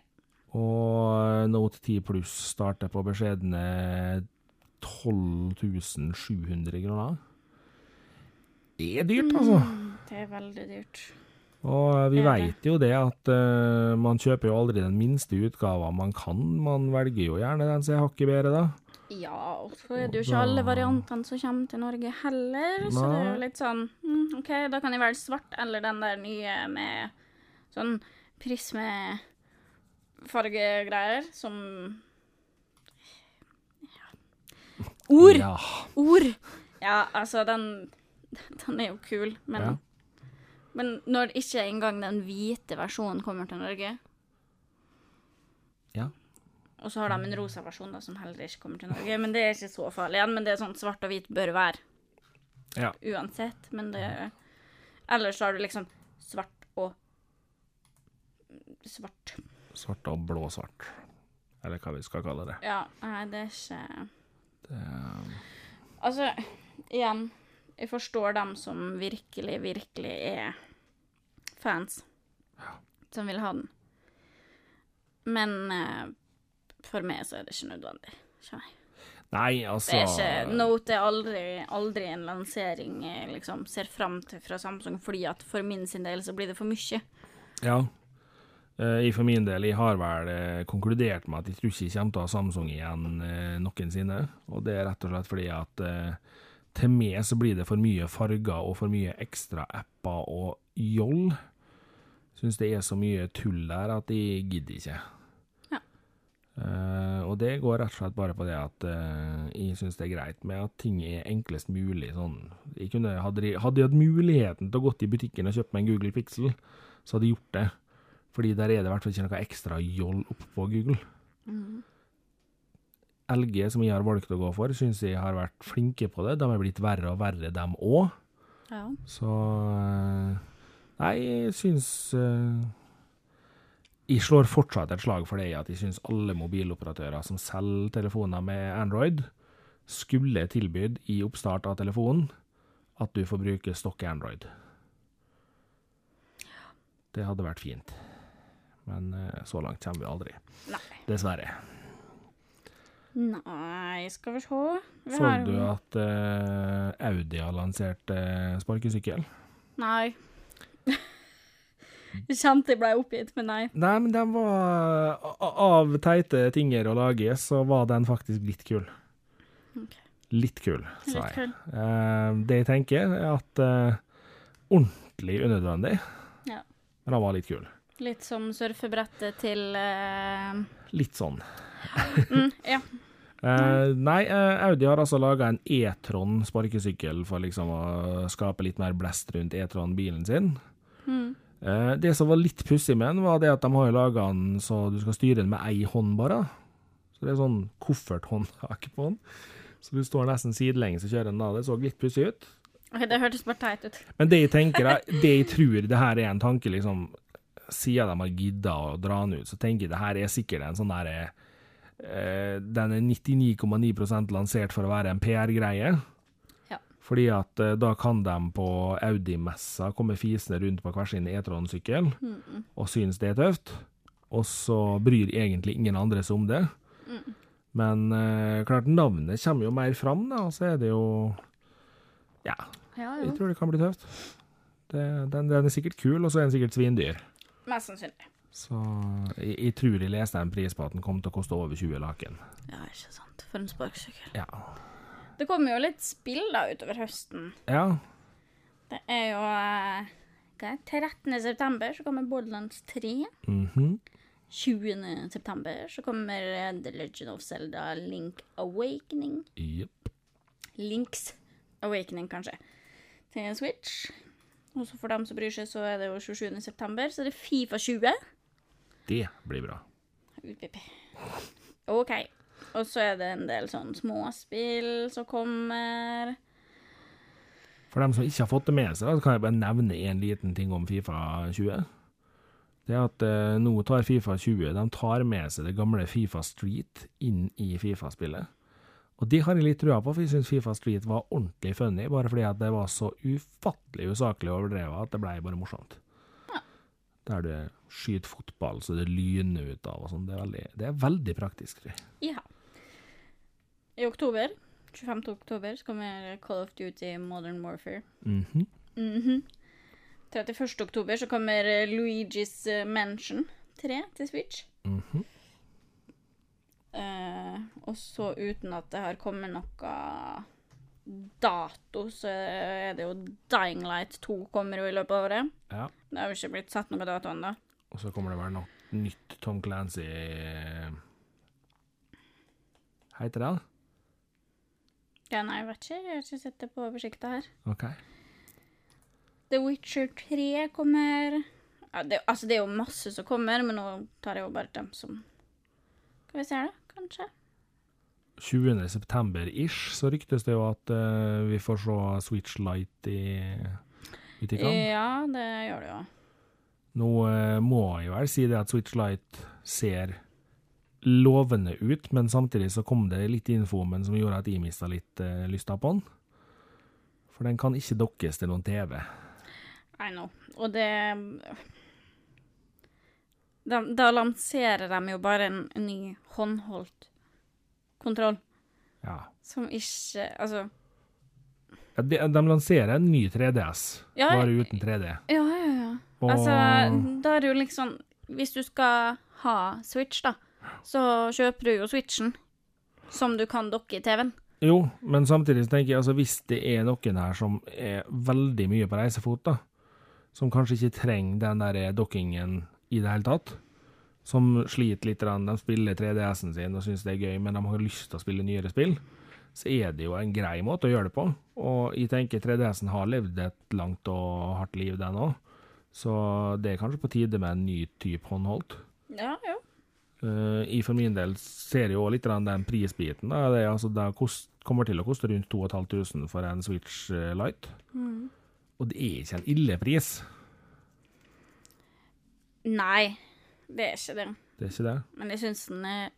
[SPEAKER 1] Og Note 10 pluss starter på beskjedne 12 700 kroner. Det er dyrt, altså.
[SPEAKER 2] Det er veldig dyrt.
[SPEAKER 1] Og vi
[SPEAKER 2] Mm. Det er det.
[SPEAKER 1] veit jo det at eh, man kjøper jo aldri den minste utgava man kan. Man velger jo gjerne den som er hakket bedre, da.
[SPEAKER 2] Ja, og så er det jo ikke alle variantene som kommer til Norge heller, så det er jo
[SPEAKER 1] Nei.
[SPEAKER 2] litt sånn mm, OK, da kan jeg velge svart eller den der nye med sånn prismefargegreier som ja. Ord!
[SPEAKER 1] Ja.
[SPEAKER 2] Ord! Ja, altså, den, den er jo kul, men,
[SPEAKER 1] Ja.
[SPEAKER 2] men når ikke engang den hvite versjonen kommer til Norge
[SPEAKER 1] Ja.
[SPEAKER 2] Og så har de en rosa versjon da, som heller ikke kommer til Norge, men det er ikke så farlig igjen. Men det er sånn svart og hvit bør være
[SPEAKER 1] Ja.
[SPEAKER 2] uansett, men det Ellers så har du liksom svart og Svart.
[SPEAKER 1] Svart og blå-svart. Eller hva vi skal kalle det.
[SPEAKER 2] Ja, nei, det er ikke
[SPEAKER 1] det er-
[SPEAKER 2] Altså, igjen, jeg forstår dem som virkelig, virkelig er fans. Som vil ha den. Men eh, for meg så er det ikke nødvendig. kjenner jeg.
[SPEAKER 1] Nei, altså
[SPEAKER 2] Det er ikke, Note er aldri, aldri en lansering jeg liksom ser fram til fra Samsung, fordi at for min sin del så blir det for mye.
[SPEAKER 1] Ja. Eh, Jeg for min del jeg har vel eh, konkludert med at jeg tror ikke jeg kommer til å ha Samsung igjen eh, noensinne. Og det er rett og slett fordi at eh, til meg så blir det for mye farger og for mye ekstra apper og joll. Syns det er så mye tull der at jeg gidder ikke.
[SPEAKER 2] Ja.
[SPEAKER 1] Eh, og det går rett og slett bare på det at eh, jeg syns det er greit med at ting er enklest mulig. Sånn. Jeg kunne, hadde, jeg- hadde jeg hatt muligheten til å gått i butikken og kjøpt meg en Google Pixel, så hadde jeg gjort det. Fordi der er det i hvert fall ikke noe ekstra joll oppå Google. LG, som jeg har valgt å gå for, syns jeg har vært flinke på det. De er blitt verre og verre, dem òg.
[SPEAKER 2] Ja.
[SPEAKER 1] Så eh, Nei, jeg syns eh, Jeg slår fortsatt et slag for det i at jeg syns alle mobiloperatører som selger telefoner med Android, skulle tilbydd i oppstart av telefonen at du får bruke stokk Android. Det hadde vært fint. Men eh, så langt kommer vi aldri.
[SPEAKER 2] Nei.
[SPEAKER 1] Dessverre.
[SPEAKER 2] Nei, skal vi se. Vi
[SPEAKER 1] Så
[SPEAKER 2] har-
[SPEAKER 1] du at eh, Audi har lansert eh, sparkesykkel?
[SPEAKER 2] Nei. Jeg kjente jeg ble oppgitt, men nei.
[SPEAKER 1] Nei, men den var a- Av teite tinger å lage, så var den faktisk litt kul.
[SPEAKER 2] Ok.
[SPEAKER 1] Litt kul, sa jeg.
[SPEAKER 2] Litt kul.
[SPEAKER 1] Eh, det jeg tenker, er at eh, Ordentlig unødvendig,
[SPEAKER 2] Ja.
[SPEAKER 1] men han var litt kul.
[SPEAKER 2] Litt som surfebrettet til eh,
[SPEAKER 1] Litt sånn.
[SPEAKER 2] mm, Ja.
[SPEAKER 1] Eh, nei, eh, Audi har altså laga en E-tron sparkesykkel for liksom å skape litt mer blest rundt E-tron-bilen sin.
[SPEAKER 2] Mm.
[SPEAKER 1] Eh, det som var litt pussig med den, var det at de har jo laga den så du skal styre den med ei hånd bare. Så det er sånn kofferthåndtak på den. Så du står nesten sidelengs og kjører den da. Det så litt pussig ut.
[SPEAKER 2] Ok, Det hørtes bare teit ut.
[SPEAKER 1] Men det jeg tenker, er- det jeg tror det her er en tanke, liksom Siden de har gidda å dra den ut, så tenker jeg det her er sikkert en sånn derre eh, Den er 99,9 lansert for å være en PR-greie.
[SPEAKER 2] Ja.
[SPEAKER 1] Fordi at eh, da kan de på Audi-messa komme fisende rundt på hver sin E-tron-sykkel og synes det er tøft, og så bryr egentlig ingen andre seg om det. Men eh, klart, navnet kommer jo mer fram, da, og så er det jo Ja,
[SPEAKER 2] Ja,
[SPEAKER 1] jeg
[SPEAKER 2] jo.
[SPEAKER 1] tror det kan bli tøft. Det, den, den er sikkert kul, og så er den sikkert svindyr.
[SPEAKER 2] Mest sannsynlig.
[SPEAKER 1] Så jeg, jeg tror jeg leste en pris på at den kom til å koste over 20 laken.
[SPEAKER 2] Ja, ikke sant. For en sparkesykkel.
[SPEAKER 1] Ja.
[SPEAKER 2] Det kommer jo litt spill da utover høsten.
[SPEAKER 1] ja.
[SPEAKER 2] Det er jo eh, hva er det? 13. september så kommer Borderlands 3.
[SPEAKER 1] mhm.
[SPEAKER 2] 20. september så kommer eh, The Legend of Zelda Link Awakening.
[SPEAKER 1] Jepp.
[SPEAKER 2] Links Awakening, kanskje, til Switch. Og så for dem som bryr seg, så er det jo 27. september, så det er Fifa 20. ut,
[SPEAKER 1] Det blir bra.
[SPEAKER 2] pip. OK. Og så er det en del sånn småspill som kommer.
[SPEAKER 1] For dem som ikke har fått det med seg, da, så kan jeg bare nevne en liten ting om Fifa 20. Det er at eh, nå tar Fifa 20 De tar med seg det gamle Fifa Street inn i Fifa-spillet. Og det har jeg litt trua på, for jeg syns Fifa Street var ordentlig funny, bare fordi at det var så ufattelig usaklig overdrevet at det ble bare morsomt. Der du skyter fotball så det lyner ut av og sånn. Det, er veldig- det er veldig praktisk, tror jeg.
[SPEAKER 2] Ja. I oktober, 25. oktober, så kommer Call of Duty Modern Warfare.
[SPEAKER 1] Mhm.
[SPEAKER 2] 31. oktober så kommer eh, Luigi's eh, Mansion 3 til Switch.
[SPEAKER 1] Mhm.
[SPEAKER 2] Eh, og så uten at det har kommet noe dato, så er det jo Dying Light 2 kommer jo i løpet av året.
[SPEAKER 1] Ja.
[SPEAKER 2] Det har jo ikke blitt satt noe dato ennå.
[SPEAKER 1] Og så kommer det vel noe nytt Tom Clancy Heter det?
[SPEAKER 2] Ja, nei, jeg vet ikke. Jeg har ikke sett det på oversikta her.
[SPEAKER 1] OK.
[SPEAKER 2] The Witcher 3 kommer. Ja, det, altså, det er jo masse som kommer, men nå tar jeg jo bare dem som Skal vi se, da, kanskje.
[SPEAKER 1] 20. september-ish så ryktes det jo at eh, vi får se Switch Light i butikkene.
[SPEAKER 2] Ja, det gjør det jo.
[SPEAKER 1] Nå eh, må jeg vel si det at Switch Light ser lovende ut, men samtidig så kom det litt info om den som gjorde at jeg mista litt eh, lysta på den. For den kan ikke dokkes til noen TV.
[SPEAKER 2] I know. Og det da, da lanserer de jo bare en ny håndholdt kontroll,
[SPEAKER 1] Ja.
[SPEAKER 2] som ikke Altså
[SPEAKER 1] Ja, De, de lanserer en ny 3DS,
[SPEAKER 2] Ja,
[SPEAKER 1] bare uten 3D.
[SPEAKER 2] Ja, ja, ja.
[SPEAKER 1] Og-
[SPEAKER 2] Altså, da er det jo liksom Hvis du skal ha Switch, da, så kjøper du jo Switchen som du kan dokke i TV-en.
[SPEAKER 1] Jo, men samtidig så tenker jeg altså hvis det er noen her som er veldig mye på reisefot, da, som kanskje ikke trenger den der dokkingen i det hele tatt, som sliter litt, grann, de spiller 3DS-en sin og syns det er gøy, men de har lyst til å spille nyere spill, så er det jo en grei måte å gjøre det på. Og jeg tenker 3DS-en har levd et langt og hardt liv, den òg, så det er kanskje på tide med en ny type håndholdt.
[SPEAKER 2] Ja, jo.
[SPEAKER 1] Eh, I for min del ser jeg jo litt grann den prisbiten. Da. Det, er altså, det kost, kommer til å koste rundt 2500 for en Switch eh, Lite. Og det er ikke en ille pris,
[SPEAKER 2] Nei, det er ikke det.
[SPEAKER 1] det er ikke det?
[SPEAKER 2] Men jeg syns den er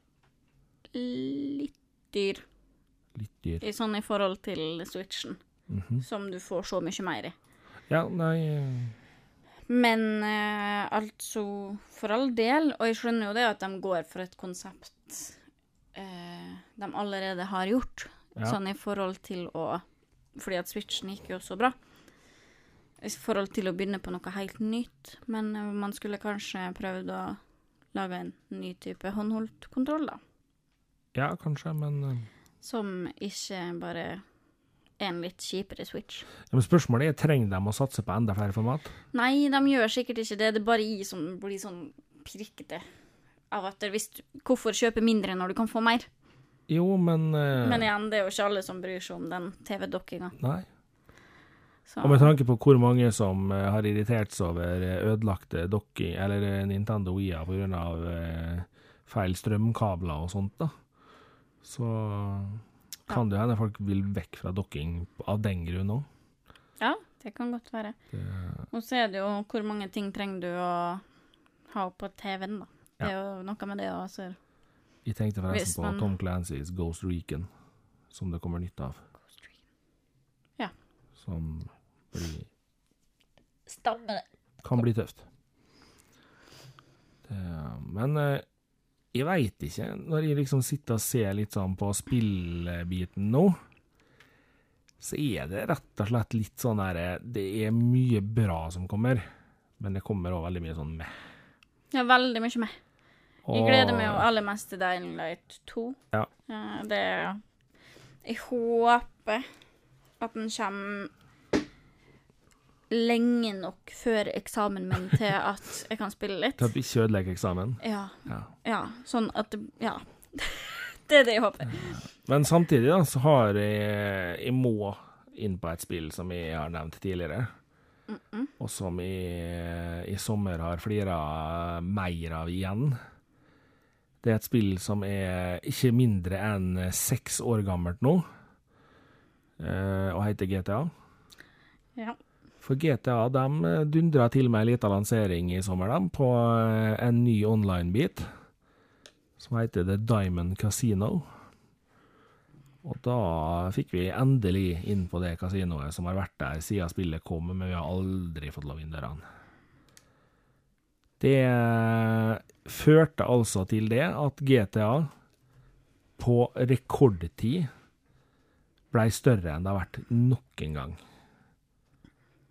[SPEAKER 2] litt dyr,
[SPEAKER 1] Litt dyr.
[SPEAKER 2] i sånn i forhold til Switchen,
[SPEAKER 1] Mhm.
[SPEAKER 2] som du får så mye mer i.
[SPEAKER 1] Ja, nei eh,
[SPEAKER 2] Men eh, altså, for all del, og jeg skjønner jo det at de går for et konsept eh, de allerede har gjort,
[SPEAKER 1] Ja.
[SPEAKER 2] sånn i forhold til å Fordi at switchen gikk jo så bra. I forhold til å begynne på noe helt nytt, men eh, man skulle kanskje prøvd å lage en ny type håndholdt kontroll, da.
[SPEAKER 1] Ja, kanskje, men eh,
[SPEAKER 2] Som ikke bare er en litt kjipere Switch.
[SPEAKER 1] Ja, Men spørsmålet er, trenger de å satse på enda flere format?
[SPEAKER 2] Nei, de gjør sikkert ikke det. Det er bare jeg som blir sånn pirkete av at det, hvis du, Hvorfor kjøpe mindre når du kan få mer?
[SPEAKER 1] Jo, men, eh,
[SPEAKER 2] Men igjen, det er jo ikke alle som bryr seg om den TV-dokkinga.
[SPEAKER 1] Nei.
[SPEAKER 2] Så
[SPEAKER 1] Og med tanke på hvor mange som eh, har irritert seg over eh, ødelagte dokking, eller eh, Nintendo Wii-er på grunn av eh, feil strømkabler og sånt, da, så kan det jo hende folk vil vekk fra dokking av den grunn òg.
[SPEAKER 2] ja, det kan godt være. Og så er det jo hvor mange ting trenger du å ha på TV-en, da. Det er jo noe med det òg, altså.
[SPEAKER 1] Jeg tenkte forresten
[SPEAKER 2] Hvis
[SPEAKER 1] på
[SPEAKER 2] man-
[SPEAKER 1] Tom Clancy's Ghost Recon, som det kommer nytt av.
[SPEAKER 2] Ja.
[SPEAKER 1] Som blir,
[SPEAKER 2] Stammer det.
[SPEAKER 1] kan bli tøft. Det, men eh, jeg veit ikke. Når jeg liksom sitter og ser litt sånn på spillbiten nå, så er det rett og slett litt sånn derre Det er mye bra som kommer, men det kommer òg veldig mye sånn meh.
[SPEAKER 2] Ja, veldig mye med. Jeg
[SPEAKER 1] Og-
[SPEAKER 2] gleder meg jo aller mest til Dying Light 2.
[SPEAKER 1] Ja.
[SPEAKER 2] Eh, Det Jeg håper at den kommer lenge nok før eksamen min til at jeg kan spille litt.
[SPEAKER 1] Til at vi ikke ødelegger eksamen.
[SPEAKER 2] Ja.
[SPEAKER 1] Ja.
[SPEAKER 2] ja sånn at det- Ja. Det er det jeg håper.
[SPEAKER 1] Men samtidig da, så har jeg Jeg må inn på et spill som jeg har nevnt tidligere. Og som jeg i sommer har flira mer av igjen. Det er et spill som er ikke mindre enn seks år gammelt nå, eh, og heter GTA.
[SPEAKER 2] Ja.
[SPEAKER 1] For GTA de dundra eh, til med ei lita lansering i sommer de, på eh, en ny online-bit som heter The Diamond Casino. Og da fikk vi endelig inn på det kasinoet som har vært der siden spillet kom, men vi har aldri fått lov inn dørene. Det eh, førte altså til det at GTA på rekordtid blei større enn det har vært noen gang.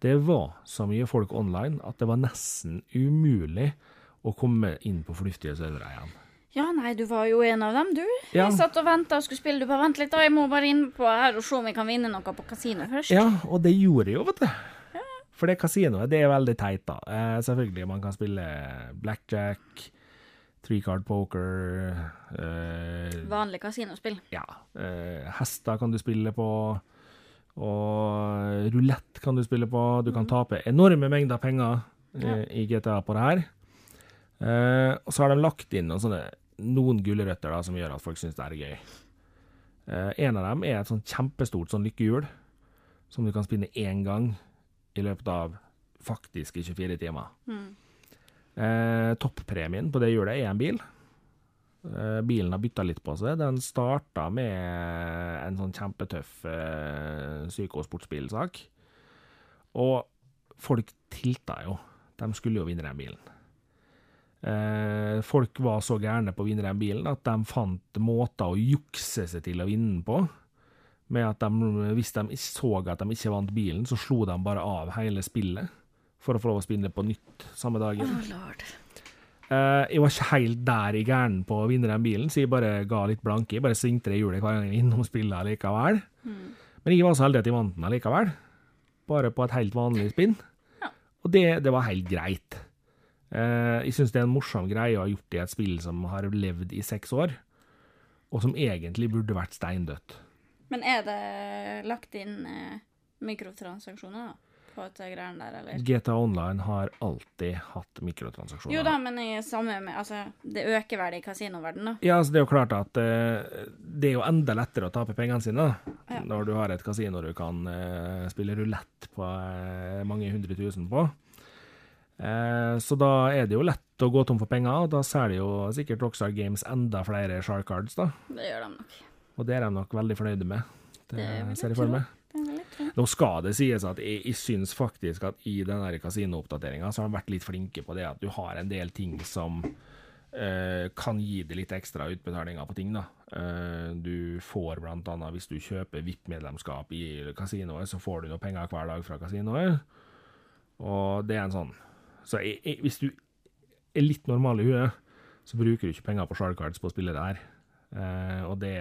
[SPEAKER 1] Det var så mye folk online at det var nesten umulig å komme inn på fornuftige servere igjen.
[SPEAKER 2] Ja, nei, du var jo en av dem, du.
[SPEAKER 1] Ja.
[SPEAKER 2] Jeg satt og venta og skulle spille. Du bare vent litt, da. Jeg må bare inn på her og se om jeg kan vinne noe på kasino først.
[SPEAKER 1] Ja, og det gjorde jeg jo, vet du. For det kasinoet, det er veldig teit, da. Eh, selvfølgelig, man kan spille blackjack, three card poker eh,
[SPEAKER 2] Vanlig kasinospill.
[SPEAKER 1] Ja. Eh, hester kan du spille på, og rulett kan du spille på. Du kan tape enorme mengder penger eh, i GTA på det her. Eh, og så har de lagt inn noen, sånne, noen gulrøtter da, som gjør at folk syns det er gøy. Eh, en av dem er et sånn kjempestort sånn lykkehjul som du kan spinne én gang i løpet av faktiske 24 timer. Eh, Toppremien på det hjulet er en bil. Eh, bilen har bytta litt på seg. Den starta med en sånn kjempetøff eh, psykosportsbilsak. Og folk tilta jo. De skulle jo vinne den bilen. Eh, folk var så gærne på å vinne den bilen at de fant måter å jukse seg til å vinne den på. Med at de, hvis de ikke så at de ikke vant bilen, så slo de bare av hele spillet for å få lov å spinne på nytt samme dagen.
[SPEAKER 2] Å, lord.
[SPEAKER 1] Eh, jeg var ikke helt der i gæren på å vinne den bilen, så jeg bare ga litt blanke. Jeg bare svingte det hjulet hver gang jeg var innom spillet likevel. Men jeg var så heldig at jeg vant den likevel. Bare på et helt vanlig spinn. Og det, det var helt greit. Eh, jeg syns det er en morsom greie å ha gjort i et spill som har levd i seks år, og som egentlig burde vært steindødt.
[SPEAKER 2] Men er det lagt inn eh, mikrotransaksjoner da, på de greiene der, eller?
[SPEAKER 1] GTA Online har alltid hatt mikrotransaksjoner.
[SPEAKER 2] Jo da, men i samme med Altså, det øker vel i kasinoverdenen, da.
[SPEAKER 1] Ja, altså det er jo klart at eh, det er jo enda lettere å tape pengene sine da. når du har et kasino du kan eh, spille rulett på eh, mange hundre tusen på. Eh, så da er det jo lett å gå tom for penger, og da selger jo sikkert Rockstar Games enda flere Shark Cards, da.
[SPEAKER 2] Det gjør de nok.
[SPEAKER 1] Og det er de nok veldig fornøyde med. Det,
[SPEAKER 2] Det vil jeg
[SPEAKER 1] ser jeg for
[SPEAKER 2] tro.
[SPEAKER 1] meg.
[SPEAKER 2] Det er vel litt fint.
[SPEAKER 1] Nå skal det sies at jeg, jeg syns faktisk at i den der kasinooppdateringa så har de vært litt flinke på det at du har en del ting som eh, kan gi deg litt ekstra utbetalinger på ting, da. Eh, du får blant annet, hvis du kjøper VIP-medlemskap i kasinoet, så får du noe penger hver dag fra kasinoet. Og det er en sånn Så jeg, jeg, hvis du er litt normal i huet, så bruker du ikke penger på shardcards på å spille det her. Eh, og det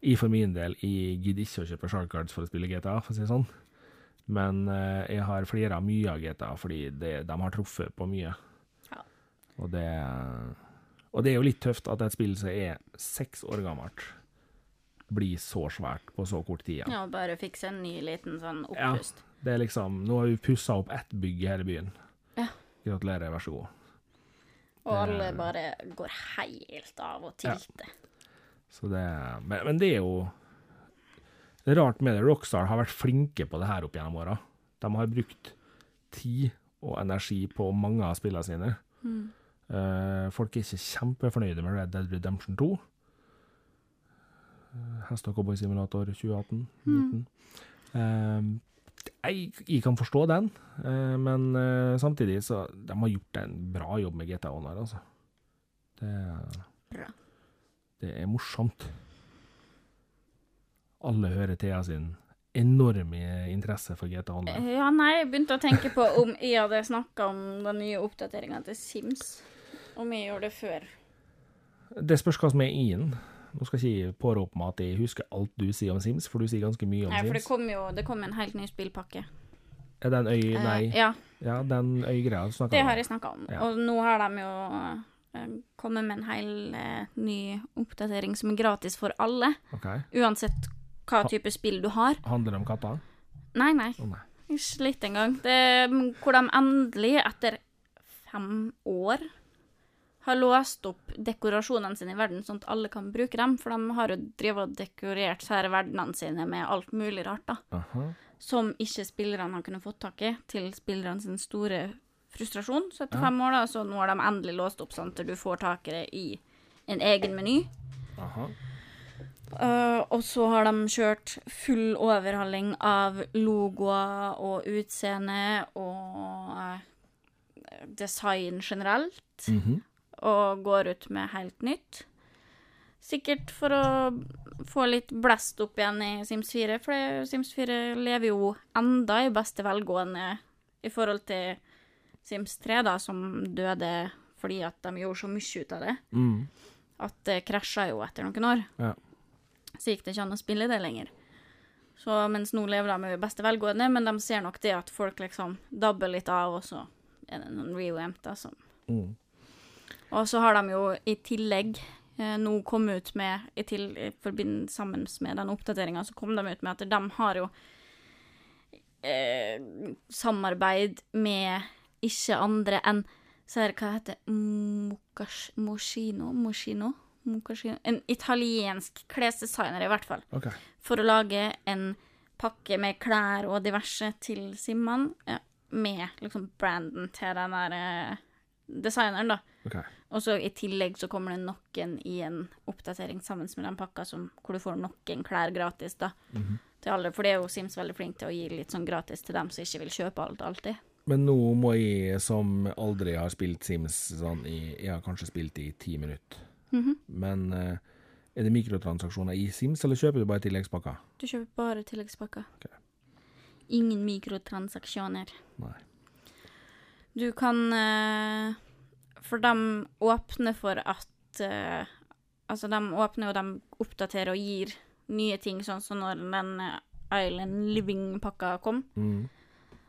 [SPEAKER 1] Jeg for min del jeg gidder ikke å kjøpe Shark Cards for å spille GTA, for å si det sånn. Men eh, jeg har flira mye av GTA, fordi det, de har truffet på mye.
[SPEAKER 2] Ja.
[SPEAKER 1] Og det, og det er jo litt tøft at et spill som er seks år gammelt, blir så svært på så kort tid.
[SPEAKER 2] Ja, bare fikse en ny liten sånn
[SPEAKER 1] Ja.
[SPEAKER 2] opppust.
[SPEAKER 1] Det er liksom Nå har vi pussa opp ett bygg her i byen.
[SPEAKER 2] Ja.
[SPEAKER 1] Gratulerer, vær så god.
[SPEAKER 2] Og alle bare går helt av og tilter.
[SPEAKER 1] Så det Men, men det er jo Det er rart med det. Rockstar har vært flinke på det her opp gjennom åra. De har brukt tid og energi på mange av spillene sine.
[SPEAKER 2] Mm.
[SPEAKER 1] Eh, folk er ikke kjempefornøyde med Red Dead Redemption 2. Eh, Hest og cowboysimulator 2018. 19. Eh, jeg, jeg kan forstå den, eh, men eh, samtidig så De har gjort en bra jobb med GTA Online, altså. Det,
[SPEAKER 2] Bra.
[SPEAKER 1] det er morsomt. Alle hører Thea sin enorme interesse for GTA Online.
[SPEAKER 2] Ja, nei, jeg begynte å tenke på om jeg hadde snakka om den nye oppdateringa til Sims. Om jeg gjorde det før.
[SPEAKER 1] Det spørs hva som er i den. Nå skal ikke jeg pårope meg at jeg husker alt du sier om Sims, for du sier ganske mye om
[SPEAKER 2] Nei, for det
[SPEAKER 1] Sims.
[SPEAKER 2] kom jo det kom en helt ny spillpakke.
[SPEAKER 1] Er den øy...
[SPEAKER 2] Eh,
[SPEAKER 1] Nei.
[SPEAKER 2] ja,
[SPEAKER 1] Ja, den øygreia du snakka
[SPEAKER 2] det har
[SPEAKER 1] om.
[SPEAKER 2] jeg snakka om.
[SPEAKER 1] Ja.
[SPEAKER 2] Og nå har de jo eh, kommet med en hel eh, ny oppdatering som er gratis for alle.
[SPEAKER 1] Ok.
[SPEAKER 2] Uansett hva type spill du har.
[SPEAKER 1] Handler det om katter?
[SPEAKER 2] Nei, nei.
[SPEAKER 1] Å nei.
[SPEAKER 2] Ikke litt engang. Det er hvor de endelig, etter fem år, har låst opp dekorasjonene sine i verden, sånn at alle kan bruke dem. For de har jo drevet og dekorert sære verdenene sine med alt mulig rart, da.
[SPEAKER 1] Aha.
[SPEAKER 2] Som ikke spillerne har kunnet fått tak i, til spillerne sin store frustrasjon. Så etter fem år, da, så nå har de endelig låst opp sånn at du får tak i det i en egen meny.
[SPEAKER 1] Aha.
[SPEAKER 2] Eh, og så har de kjørt full overhaling av logoer og utseende og eh, design generelt,
[SPEAKER 1] Mhm.
[SPEAKER 2] og går ut med helt nytt. Sikkert for å få litt blest opp igjen i Sims 4, for det- Sims 4 lever jo enda i beste velgående i forhold til Sims 3, da, som døde fordi at de gjorde så mye ut av det
[SPEAKER 1] mm.
[SPEAKER 2] at det krasja jo etter noen år.
[SPEAKER 1] Ja.
[SPEAKER 2] Så gikk det ikke an å spille det lenger. Så mens nå lever de i beste velgående, men de ser nok det at folk liksom dabber litt av, og så er det noen revamp, da, som
[SPEAKER 1] Mm.
[SPEAKER 2] Og så har de jo i tillegg eh, nå kommet ut med, i, til, i forbindelse sammen med den oppdateringa, så kom de ut med at de har jo eh, samarbeid med ikke andre enn så her, hva heter det? Mokas- Moschino? Moschino? Moschino? En italiensk klesdesigner, i hvert fall.
[SPEAKER 1] Ok.
[SPEAKER 2] For å lage en pakke med klær og diverse til Simman. Ja, med liksom branden til den der eh, designeren, da.
[SPEAKER 1] ok.
[SPEAKER 2] Og så i tillegg så kommer det noen i en oppdatering sammen med den pakka som, hvor du får noen klær gratis, da. Til alle. For det er jo Sims veldig flink til å gi litt sånn gratis til dem som ikke vil kjøpe alt alltid.
[SPEAKER 1] Men nå må jeg, som aldri har spilt Sims sånn i Jeg har kanskje spilt i ti minutter.
[SPEAKER 2] Mhm.
[SPEAKER 1] Men eh, er det mikrotransaksjoner i Sims, eller kjøper du bare tilleggspakker?
[SPEAKER 2] Du kjøper bare tilleggspakker.
[SPEAKER 1] Ok.
[SPEAKER 2] Ingen mikrotransaksjoner.
[SPEAKER 1] Nei.
[SPEAKER 2] Du kan eh, For de åpner for at eh, Altså, de åpner og de oppdaterer og gir nye ting, sånn som når den eh, Island Living-pakka kom.
[SPEAKER 1] Mm.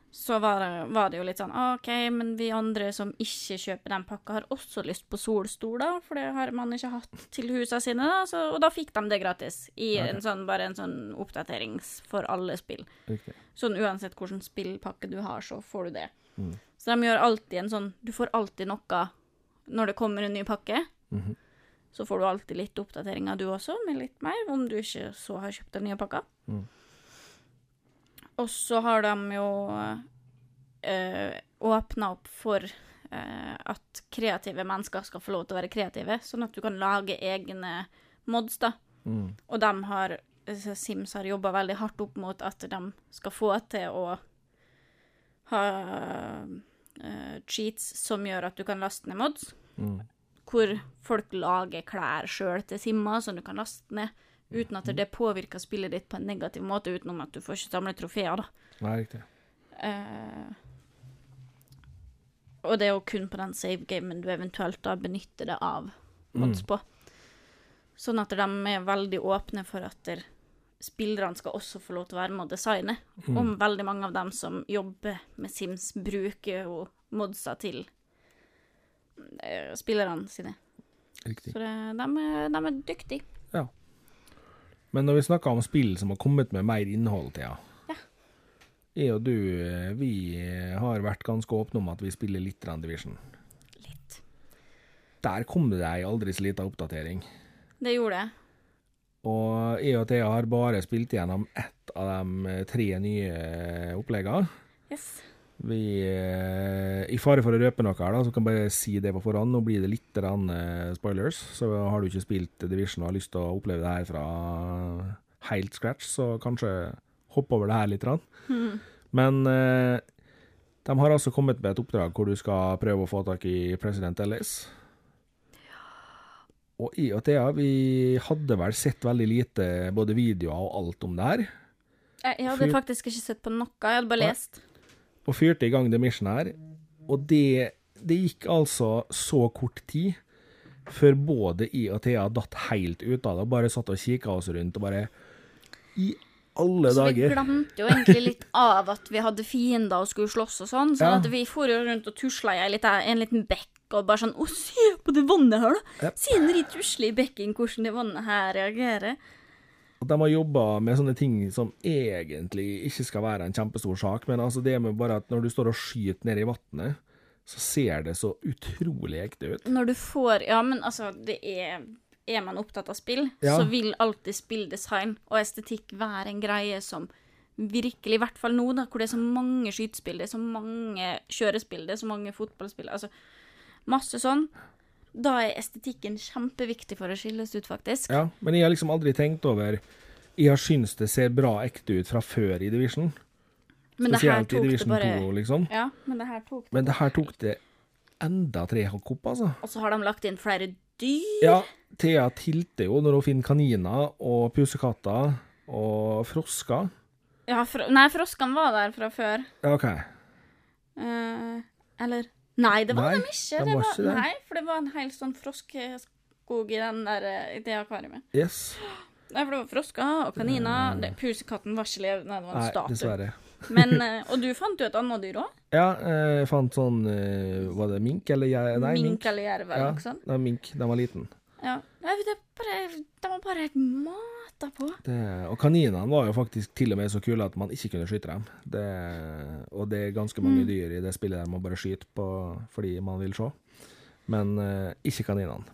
[SPEAKER 2] Så var det, var det jo litt sånn «Ah, OK, men vi andre som ikke kjøper den pakka, har også lyst på solstol, da, for det har man ikke hatt til husa sine, da. Så, og da fikk de det gratis. I
[SPEAKER 1] Ok.
[SPEAKER 2] en sånn, bare en sånn oppdaterings for alle spill.
[SPEAKER 1] Riktig.
[SPEAKER 2] Sånn uansett hvilken spillpakke du har, så får du det.
[SPEAKER 1] Mm.
[SPEAKER 2] Så de gjør alltid en sånn Du får alltid noe når det kommer en ny pakke.
[SPEAKER 1] Mhm.
[SPEAKER 2] Så får du alltid litt oppdateringer du også, med litt mer, om du ikke så har kjøpt den nye pakka.
[SPEAKER 1] Mm.
[SPEAKER 2] Og så har de jo eh, åpna opp for eh, at kreative mennesker skal få lov til å være kreative, sånn at du kan lage egne mods, da.
[SPEAKER 1] Mm.
[SPEAKER 2] Og de har altså Sims har jobba veldig hardt opp mot at de skal få til å ha eh, cheats som gjør at du kan laste ned mods,
[SPEAKER 1] Mm.
[SPEAKER 2] hvor folk lager klær sjøl til simmer som du kan laste ned, uten at det påvirker spillet ditt på en negativ måte, utenom at du får ikke samle trofeer, da.
[SPEAKER 1] Nei, riktig.
[SPEAKER 2] Eh, og det er jo kun på den save-gamen du eventuelt da benytter det av mods på. Sånn at de er veldig åpne for at der- spillerne skal også få lov til å være med og designe. Om veldig mange av dem som jobber med Sims, bruker jo modsa til eh, spillerne sine.
[SPEAKER 1] Riktig.
[SPEAKER 2] Så det, de, er, de er dyktige.
[SPEAKER 1] Ja. Men når vi snakker om spill som har kommet med mer innhold, Thea.
[SPEAKER 2] Ja.
[SPEAKER 1] Jeg og du, eh, vi eh, har vært ganske åpne om at vi spiller litt grann Division.
[SPEAKER 2] Litt.
[SPEAKER 1] Der kom det ei aldri så lita oppdatering.
[SPEAKER 2] Det gjorde jeg.
[SPEAKER 1] Og jeg og Thea har bare spilt gjennom ett av de eh, tre nye eh, oppleggene.
[SPEAKER 2] Yes.
[SPEAKER 1] Vi, eh, I fare for å røpe noe her, da, så kan jeg bare si det på forhånd. Nå blir det litt grann, eh, spoilers. Så har du ikke spilt Division og har lyst til å oppleve det her fra helt scratch, så kanskje hopp over det her litt. Grann. Men eh, de har altså kommet med et oppdrag hvor du skal prøve å få tak i president Ellis. Og i og Thea, vi hadde vel sett veldig lite både videoer og alt om det her.
[SPEAKER 2] Jeg, jeg hadde
[SPEAKER 1] Fy-
[SPEAKER 2] faktisk ikke sett på noe, jeg hadde bare
[SPEAKER 1] Nei.
[SPEAKER 2] lest.
[SPEAKER 1] og fyrte i gang The Mission her. Og det, det gikk altså så kort tid før både jeg og Thea datt helt ut av det og bare satt og kikka oss rundt og bare I alle
[SPEAKER 2] Så vi
[SPEAKER 1] dager!
[SPEAKER 2] glemte jo egentlig litt av at vi hadde fiender og skulle slåss og sånn. Sånn
[SPEAKER 1] Ja.
[SPEAKER 2] at vi for jo rundt og tusla i en liten, en liten bekk. Og bare sånn Å, se på det vannet her, da!
[SPEAKER 1] Jep.
[SPEAKER 2] Se når de tusler i bekken, hvordan det vannet her reagerer.
[SPEAKER 1] At de har jobba med sånne ting som egentlig ikke skal være en kjempestor sak, men altså det med bare at når du står og skyter ned i vannet, så ser det så utrolig ekte ut.
[SPEAKER 2] Når du får Ja, men altså, det er Er man opptatt av spill,
[SPEAKER 1] Ja.
[SPEAKER 2] så vil alltid spilldesign og estetikk være en greie som virkelig I hvert fall nå, da, hvor det er så mange skytespill, det er så mange kjørespill, det er så mange fotballspill Altså masse sånn. Da er estetikken kjempeviktig for å skilles ut, faktisk.
[SPEAKER 1] Ja, men jeg har liksom aldri tenkt over Jeg har syntes det ser bra ekte ut fra før i Division,
[SPEAKER 2] men det her
[SPEAKER 1] spesielt i
[SPEAKER 2] tok det
[SPEAKER 1] Division
[SPEAKER 2] bare
[SPEAKER 1] 2, liksom.
[SPEAKER 2] Ja, men det her tok
[SPEAKER 1] Men det her tok det enda tre hakk opp, altså.
[SPEAKER 2] Og så har de lagt inn flere dyr.
[SPEAKER 1] Ja, Thea tilter jo når hun finner kaniner og pusekatter og frosker.
[SPEAKER 2] Ja, fro nei, froskene var der fra før.
[SPEAKER 1] Ja, OK.
[SPEAKER 2] Eh, eller Nei, det var
[SPEAKER 1] Nei,
[SPEAKER 2] dem ikke.
[SPEAKER 1] de
[SPEAKER 2] det
[SPEAKER 1] var
[SPEAKER 2] var,
[SPEAKER 1] ikke det.
[SPEAKER 2] Nei, for det var en hel sånn froskeskog i den der, eh, i det akvariet.
[SPEAKER 1] Yes.
[SPEAKER 2] Nei, for det var frosker og kaniner. Det, pusekatten var ikke levende, det var en
[SPEAKER 1] Eh. Nei,
[SPEAKER 2] statue.
[SPEAKER 1] dessverre.
[SPEAKER 2] Men, eh, og du fant jo et annet dyr òg.
[SPEAKER 1] Ja, eh, jeg fant sånn eh, Var det mink eller jeg? Nei, mink.
[SPEAKER 2] Mink eller jerv eller
[SPEAKER 1] Ja,
[SPEAKER 2] noe sånt.
[SPEAKER 1] det var mink. Den var liten.
[SPEAKER 2] Ja. Nei, det er bare, de var bare helt mata på.
[SPEAKER 1] Det, og kaninene var jo faktisk til og med så kule at man ikke kunne skyte dem. Det, og det er ganske
[SPEAKER 2] Mm.
[SPEAKER 1] mange dyr i det spillet der man bare skyter på fordi man vil se. Men eh, ikke kaninene.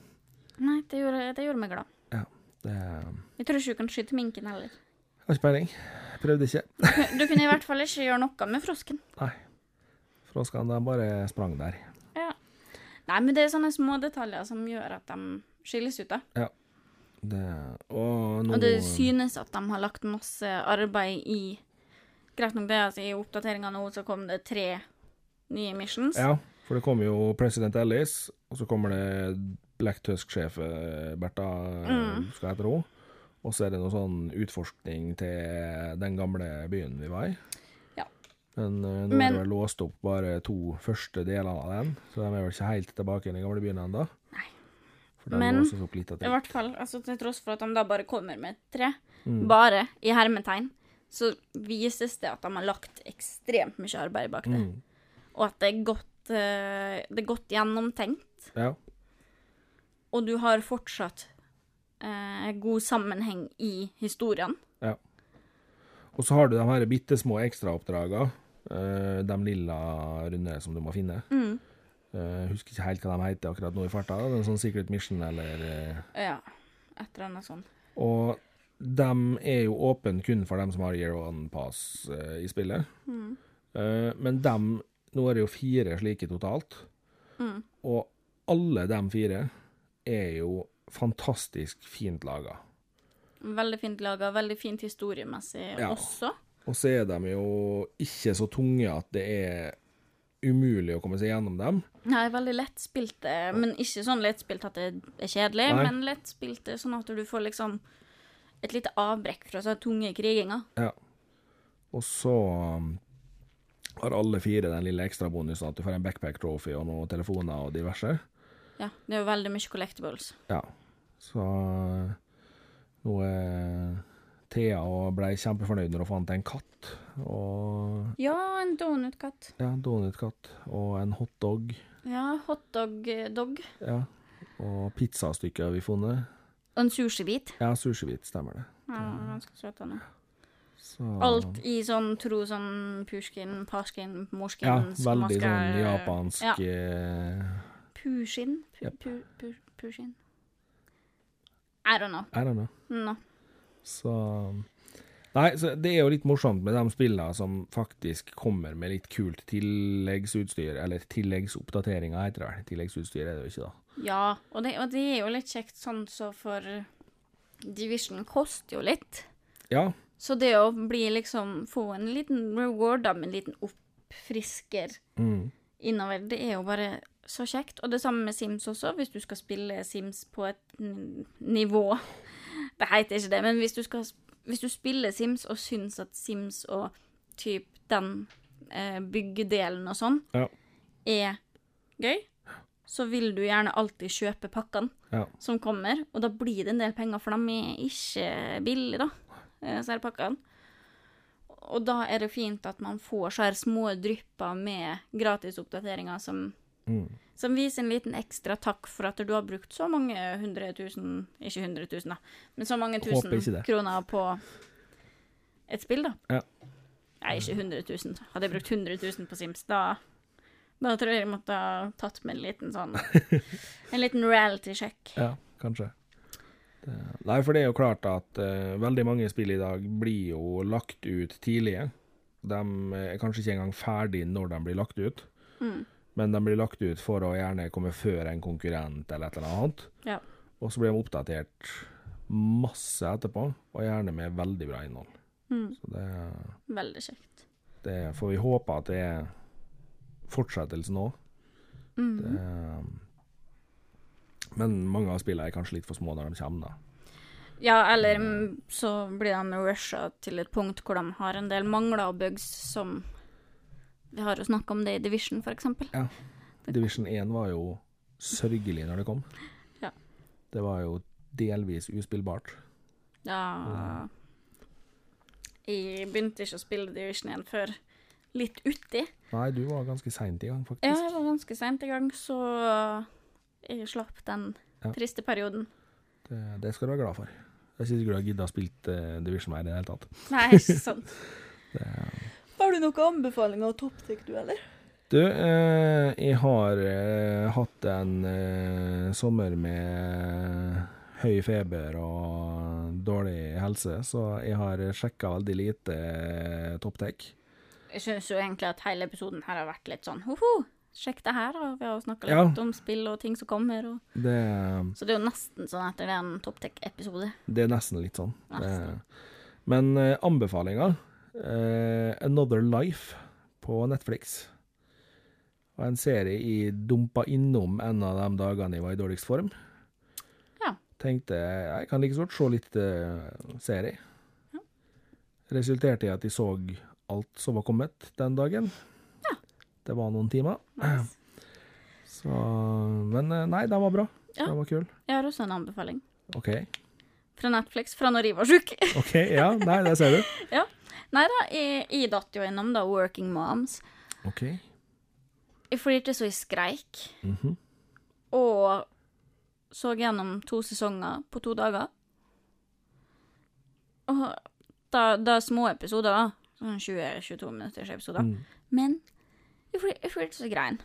[SPEAKER 2] Nei, det gjorde, det gjorde meg glad.
[SPEAKER 1] Ja, det
[SPEAKER 2] Jeg tror ikke du kan skyte minken heller.
[SPEAKER 1] Har ikke peiling. Prøvde ikke.
[SPEAKER 2] Du kunne i hvert fall ikke gjøre noe med frosken.
[SPEAKER 1] Nei. Froskene de bare sprang der.
[SPEAKER 2] Ja. Nei, men det er sånne små detaljer som gjør at de skilles ut, da.
[SPEAKER 1] Det, og nå
[SPEAKER 2] Og det synes at de har lagt masse arbeid i Greit nok det, altså i oppdateringa nå så kom det tre nye missions.
[SPEAKER 1] Ja, for det kommer jo president Ellis, og så kommer det Black Tusk-sjef eh, Bertha, eh,
[SPEAKER 2] Mm.
[SPEAKER 1] skal jeg tro. Og så er det noe sånn utforskning til den gamle byen vi var i.
[SPEAKER 2] Ja.
[SPEAKER 1] Men eh, nå
[SPEAKER 2] Men-
[SPEAKER 1] er det vel låst opp bare to første delene av den, så de er vel ikke helt tilbake i den gamle byen ennå.
[SPEAKER 2] Nei.
[SPEAKER 1] For den
[SPEAKER 2] Men-
[SPEAKER 1] låses opp litt av
[SPEAKER 2] I
[SPEAKER 1] ting.
[SPEAKER 2] hvert fall, altså Til tross for at de da bare kommer med tre,
[SPEAKER 1] Mm.
[SPEAKER 2] bare i hermetegn, så vises det at de har lagt ekstremt mye arbeid bak det.
[SPEAKER 1] Mm.
[SPEAKER 2] Og at det er godt, eh, det er godt gjennomtenkt.
[SPEAKER 1] Ja.
[SPEAKER 2] Og du har fortsatt eh, god sammenheng i historien.
[SPEAKER 1] Og så har du de her bitte små ekstraoppdraga. Uh, de lilla runde som du må finne.
[SPEAKER 2] Mm.
[SPEAKER 1] Eh, husker ikke helt hva de heter akkurat nå i farta. da. Det er en sånn Secret Mission eller eh,
[SPEAKER 2] Ja. Et eller annet sånt.
[SPEAKER 1] Og de er jo åpne kun for dem som har year one pass eh, i spillet.
[SPEAKER 2] Mm.
[SPEAKER 1] Eh, men dem Nå er det jo fire slike totalt.
[SPEAKER 2] Mm.
[SPEAKER 1] Og alle de fire er jo fantastisk fint laga.
[SPEAKER 2] Veldig fint laga, veldig fint historiemessig
[SPEAKER 1] Ja.
[SPEAKER 2] også.
[SPEAKER 1] Og så er de jo ikke så tunge at det er umulig å komme seg gjennom dem.
[SPEAKER 2] Nei, veldig lettspilte, men ikke sånn lettspilt at det er kjedelig,
[SPEAKER 1] Nei.
[SPEAKER 2] men lettspilte sånn at du får liksom et lite avbrekk fra så tunge kriginger.
[SPEAKER 1] Og så um, har alle fire den lille ekstrabonusen at du får en backpack trophy og noen telefoner og diverse.
[SPEAKER 2] Ja, det er jo veldig mye collectibles.
[SPEAKER 1] Ja. Så uh, nå er Thea og ble kjempefornøyd når hun fant en katt. Og
[SPEAKER 2] Ja, en donutkatt.
[SPEAKER 1] ja, donutkatt og en hotdog.
[SPEAKER 2] Ja, eh, hotdog-dog.
[SPEAKER 1] Ja. Og pizzastykker har vi funnet.
[SPEAKER 2] Og en sushibit.
[SPEAKER 1] Ja, sushihvit, stemmer det.
[SPEAKER 2] Ja, den var ganske søt. den.
[SPEAKER 1] Så,
[SPEAKER 2] Alt i sånn tro sånn purskin, paskin, morskin
[SPEAKER 1] Ja, veldig
[SPEAKER 2] masker-
[SPEAKER 1] sånn japansk
[SPEAKER 2] Ja.
[SPEAKER 1] eh,
[SPEAKER 2] Pushin? Pu,
[SPEAKER 1] Jep.
[SPEAKER 2] pu, pu, pushin? I don't know.
[SPEAKER 1] I don't know.
[SPEAKER 2] No.
[SPEAKER 1] Så Nei, så det er jo litt morsomt med de spillene som faktisk kommer med litt kult tilleggsutstyr, eller tilleggsoppdateringer, heter det vel. Tilleggsutstyr er det jo ikke, da.
[SPEAKER 2] Ja, og det, og det er jo litt kjekt sånn så for Division koster jo litt.
[SPEAKER 1] Ja,
[SPEAKER 2] Så det å bli liksom Få en liten reward da, med en liten oppfrisker
[SPEAKER 1] mm,
[SPEAKER 2] innover, det er jo bare så kjekt. Og det samme med Sims også, hvis du skal spille Sims på et n- nivå Det heter ikke det, men hvis du, skal, hvis du spiller Sims og syns at Sims og typ den eh, byggedelen og sånn
[SPEAKER 1] Ja.
[SPEAKER 2] er gøy, så vil du gjerne alltid kjøpe pakkene
[SPEAKER 1] ja,
[SPEAKER 2] som kommer, og da blir det en del penger, for de er ikke billige, da, eh, disse her pakkene. Og da er det fint at man får så her små drypper med gratisoppdateringer som,
[SPEAKER 1] Mm.
[SPEAKER 2] som viser en liten ekstra takk for at du har brukt så mange hundre tusen Ikke hundre tusen, da, men så mange
[SPEAKER 1] Håper
[SPEAKER 2] tusen
[SPEAKER 1] ikke det.
[SPEAKER 2] kroner på et spill, da.
[SPEAKER 1] Ja.
[SPEAKER 2] Nei, ikke 100 000. Hadde jeg brukt 100 000 på Sims, da da tror jeg jeg måtte ha tatt med en liten sånn En liten reality-sjekk.
[SPEAKER 1] ja, kanskje. Det, nei, for det er jo klart at eh, veldig mange spill i dag blir jo lagt ut tidlige. De er kanskje ikke engang ferdig når de blir lagt ut,
[SPEAKER 2] Mm.
[SPEAKER 1] men de blir lagt ut for å gjerne komme før en konkurrent eller et eller annet.
[SPEAKER 2] Ja.
[SPEAKER 1] Og så blir de oppdatert masse etterpå, og gjerne med veldig bra innhold.
[SPEAKER 2] Mm.
[SPEAKER 1] Så det,
[SPEAKER 2] Veldig kjekt.
[SPEAKER 1] det får vi håpe at det er fortsettelsen òg.
[SPEAKER 2] Mm.
[SPEAKER 1] eh, Men mange av spillene er kanskje litt for små når de kommer, da.
[SPEAKER 2] Ja, eller mm, så blir de rusha til et punkt hvor de har en del mangler og bugs som Vi har jo snakka om det i Division, for eksempel.
[SPEAKER 1] Division 1 var jo sørgelig når det kom.
[SPEAKER 2] Ja.
[SPEAKER 1] Det var jo delvis uspillbart.
[SPEAKER 2] Ja Jeg begynte ikke å spille Division 1 før litt uti.
[SPEAKER 1] Nei, du var ganske seint i gang, faktisk.
[SPEAKER 2] Ja, jeg var ganske seint i gang, så jeg slapp den
[SPEAKER 1] Ja.
[SPEAKER 2] triste perioden.
[SPEAKER 1] Det, det skal du være glad for. Jeg synes ikke du har gidda å spille eh, Division mer i det hele tatt.
[SPEAKER 2] Nei, ikke sant. Har du noen anbefalinger av topptek, du, eller?
[SPEAKER 1] Du, eh, jeg har eh, hatt en eh, sommer med høy feber og dårlig helse, så jeg har sjekka veldig lite eh, topptek.
[SPEAKER 2] Jeg syns jo egentlig at hele episoden her har vært litt sånn hoho, sjekk det her, og vi har jo snakka
[SPEAKER 1] Ja.
[SPEAKER 2] litt om spill og ting som kommer, og
[SPEAKER 1] Det, eh,
[SPEAKER 2] Så det er jo nesten sånn etter det er en topptek-episode.
[SPEAKER 1] det er nesten litt sånn. Det,
[SPEAKER 2] Nesten.
[SPEAKER 1] men eh, anbefalinga eh, Another Life på Netflix. Og en serie jeg dumpa innom en av de dagene jeg var i dårligst form.
[SPEAKER 2] Ja.
[SPEAKER 1] Tenkte jeg kan like så godt se litt eh, serie. Resulterte i at jeg så alt som var kommet den dagen.
[SPEAKER 2] Ja.
[SPEAKER 1] Det var noen timer.
[SPEAKER 2] Nice.
[SPEAKER 1] Så, men eh, nei, den var bra.
[SPEAKER 2] Ja.
[SPEAKER 1] Den var kul.
[SPEAKER 2] Jeg har også en anbefaling
[SPEAKER 1] OK.
[SPEAKER 2] fra Netflix fra når jeg var sjuk.
[SPEAKER 1] OK, ja. Nei, det ser du.
[SPEAKER 2] Nei da, jeg, jeg datt jo innom da Working Moms.
[SPEAKER 1] OK.
[SPEAKER 2] Jeg flirte så jeg skreik,
[SPEAKER 1] Mhm.
[SPEAKER 2] og så gjennom to sesonger på to dager. Og da, da små episoder, da. Sånn 20-22 minutters episoder.
[SPEAKER 1] Mm.
[SPEAKER 2] Men jeg flir- jeg flirte så jeg grein.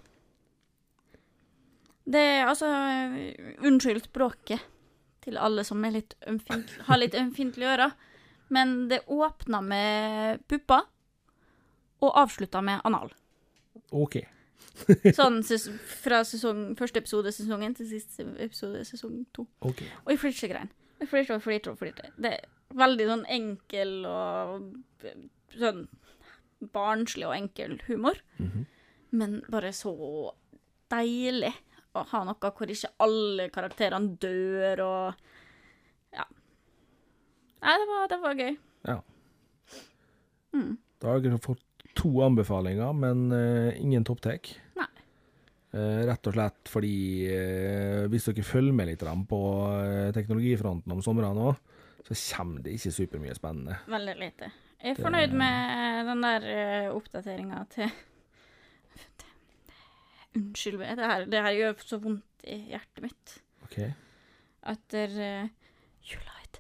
[SPEAKER 2] Det er altså Unnskyld språket til alle som er litt ømfint, har litt ømfintlige ører, men det åpna med pupper og avslutta med anal.
[SPEAKER 1] OK.
[SPEAKER 2] Sånn ses fra sesong, første episode i sesongen til siste episode i sesong to.
[SPEAKER 1] ok.
[SPEAKER 2] Og jeg flirte så jeg grein. Jeg flirte og flirte og flirte. Det er veldig sånn enkel og b- sånn barnslig og enkel humor.
[SPEAKER 1] Mhm.
[SPEAKER 2] Men bare så deilig å ha noe hvor ikke alle karakterene dør og Ja. Nei, det var, det var gøy.
[SPEAKER 1] Ja.
[SPEAKER 2] Mm.
[SPEAKER 1] Da har dere fått to anbefalinger, men eh, ingen topptek.
[SPEAKER 2] Nei.
[SPEAKER 1] Eh, Rett og slett fordi eh, hvis dere følger med litt grann på eh, teknologifronten om somrene òg, så kommer det ikke supermye spennende.
[SPEAKER 2] Veldig lite. Jeg er fornøyd med den der uh, oppdateringa til Unnskyld meg, det her, det her gjør så vondt i hjertet mitt.
[SPEAKER 1] Ok.
[SPEAKER 2] Etter uh, Ulight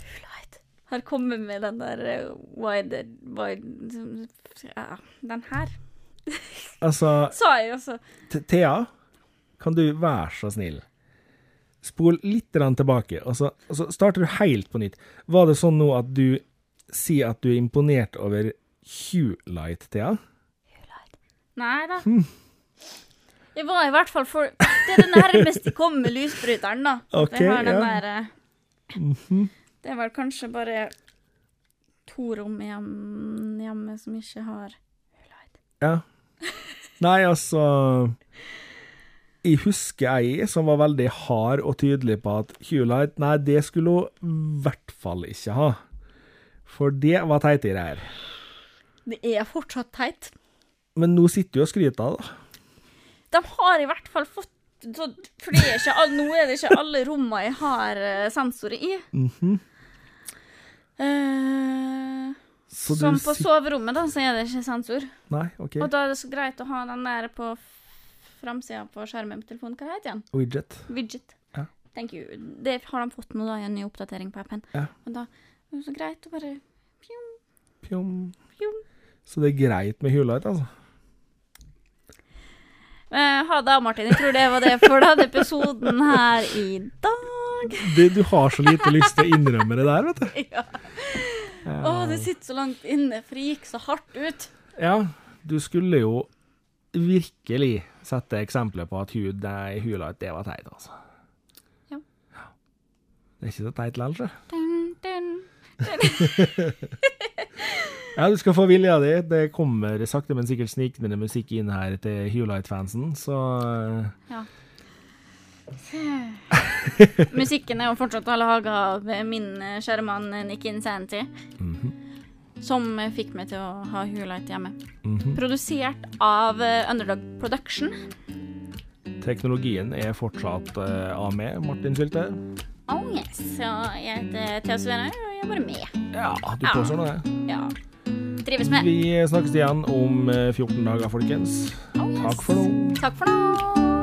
[SPEAKER 2] Ulight har kommet med den der eh, wide, wide ja, Den her.
[SPEAKER 1] Altså,
[SPEAKER 2] Sa jeg også.
[SPEAKER 1] T- Thea, kan du være så snill? Spol litt grann tilbake, og så, og så starter du helt på nytt. Var det sånn nå at du sier at du er imponert over Hue-light, Thea?
[SPEAKER 2] Nei da.
[SPEAKER 1] Hmm.
[SPEAKER 2] Jeg var i hvert fall for Det er det nærmeste jeg kom med lysbryteren, da.
[SPEAKER 1] Ok,
[SPEAKER 2] det har den
[SPEAKER 1] ja. Mhm.
[SPEAKER 2] der eh, Det er vel kanskje bare to rom hjem, hjemme som ikke har
[SPEAKER 1] Ja. Nei, altså Jeg husker ei som var veldig hard og tydelig på at Hue-light, nei, det skulle hun i hvert fall ikke ha. For det var teite greier.
[SPEAKER 2] Det er fortsatt teit.
[SPEAKER 1] Men nå sitter du og skryter av det.
[SPEAKER 2] De har i hvert fall fått så, for det er ikke, all- nå er det ikke alle rommene jeg har eh, sensorer i.
[SPEAKER 1] Mhm.
[SPEAKER 2] Eh,
[SPEAKER 1] Så
[SPEAKER 2] som
[SPEAKER 1] du
[SPEAKER 2] på
[SPEAKER 1] sit-
[SPEAKER 2] soverommet, da, så er det ikke sensor.
[SPEAKER 1] Nei, OK.
[SPEAKER 2] Og da er det så greit å ha den der på framsida på skjermen på telefonen. Hva heter den?
[SPEAKER 1] Widget.
[SPEAKER 2] Widget.
[SPEAKER 1] Ja.
[SPEAKER 2] Thank you. Det har de fått nå, da, i en ny oppdatering på appen.
[SPEAKER 1] Ja.
[SPEAKER 2] Og da er det så greit å bare
[SPEAKER 1] Pjom.
[SPEAKER 2] Pjom.
[SPEAKER 1] Så det er greit med hulight, altså?
[SPEAKER 2] eh, Ha det, Martin. Jeg tror det var det for den episoden her i dag.
[SPEAKER 1] Du, du har så lite lyst til å innrømme det der, vet du.
[SPEAKER 2] Ja. Å, det sitter så langt inne, for det gikk så hardt ut.
[SPEAKER 1] Ja, du skulle jo virkelig sette eksempler på at hu- nei, hulight, det var teit, altså.
[SPEAKER 2] Ja.
[SPEAKER 1] Det er ikke så teit likevel, sjø.
[SPEAKER 2] Dun, dun.
[SPEAKER 1] Ja, du skal få vilja di. Det kommer sakte, men sikkert snikende musikk inn her til Hulight-fansen, så eh,
[SPEAKER 2] Ja. Musikken er jo fortsatt laga av min eh, skjermann Nick Insanity. Som eh, fikk meg til å ha Hulight hjemme.
[SPEAKER 1] mhm.
[SPEAKER 2] Produsert av eh, Underdog Production.
[SPEAKER 1] Teknologien er fortsatt eh, av med, Martin Sylte.
[SPEAKER 2] Oh yes. Og jeg heter Thea Svenhaug, og jeg er bare med.
[SPEAKER 1] Ja, du
[SPEAKER 2] Ja.
[SPEAKER 1] påstår nå det.
[SPEAKER 2] Ja. Trives med.
[SPEAKER 1] Vi snakkes igjen om eh, 14 dager, folkens.
[SPEAKER 2] Oh yes.
[SPEAKER 1] Takk for nå.
[SPEAKER 2] Takk for nå.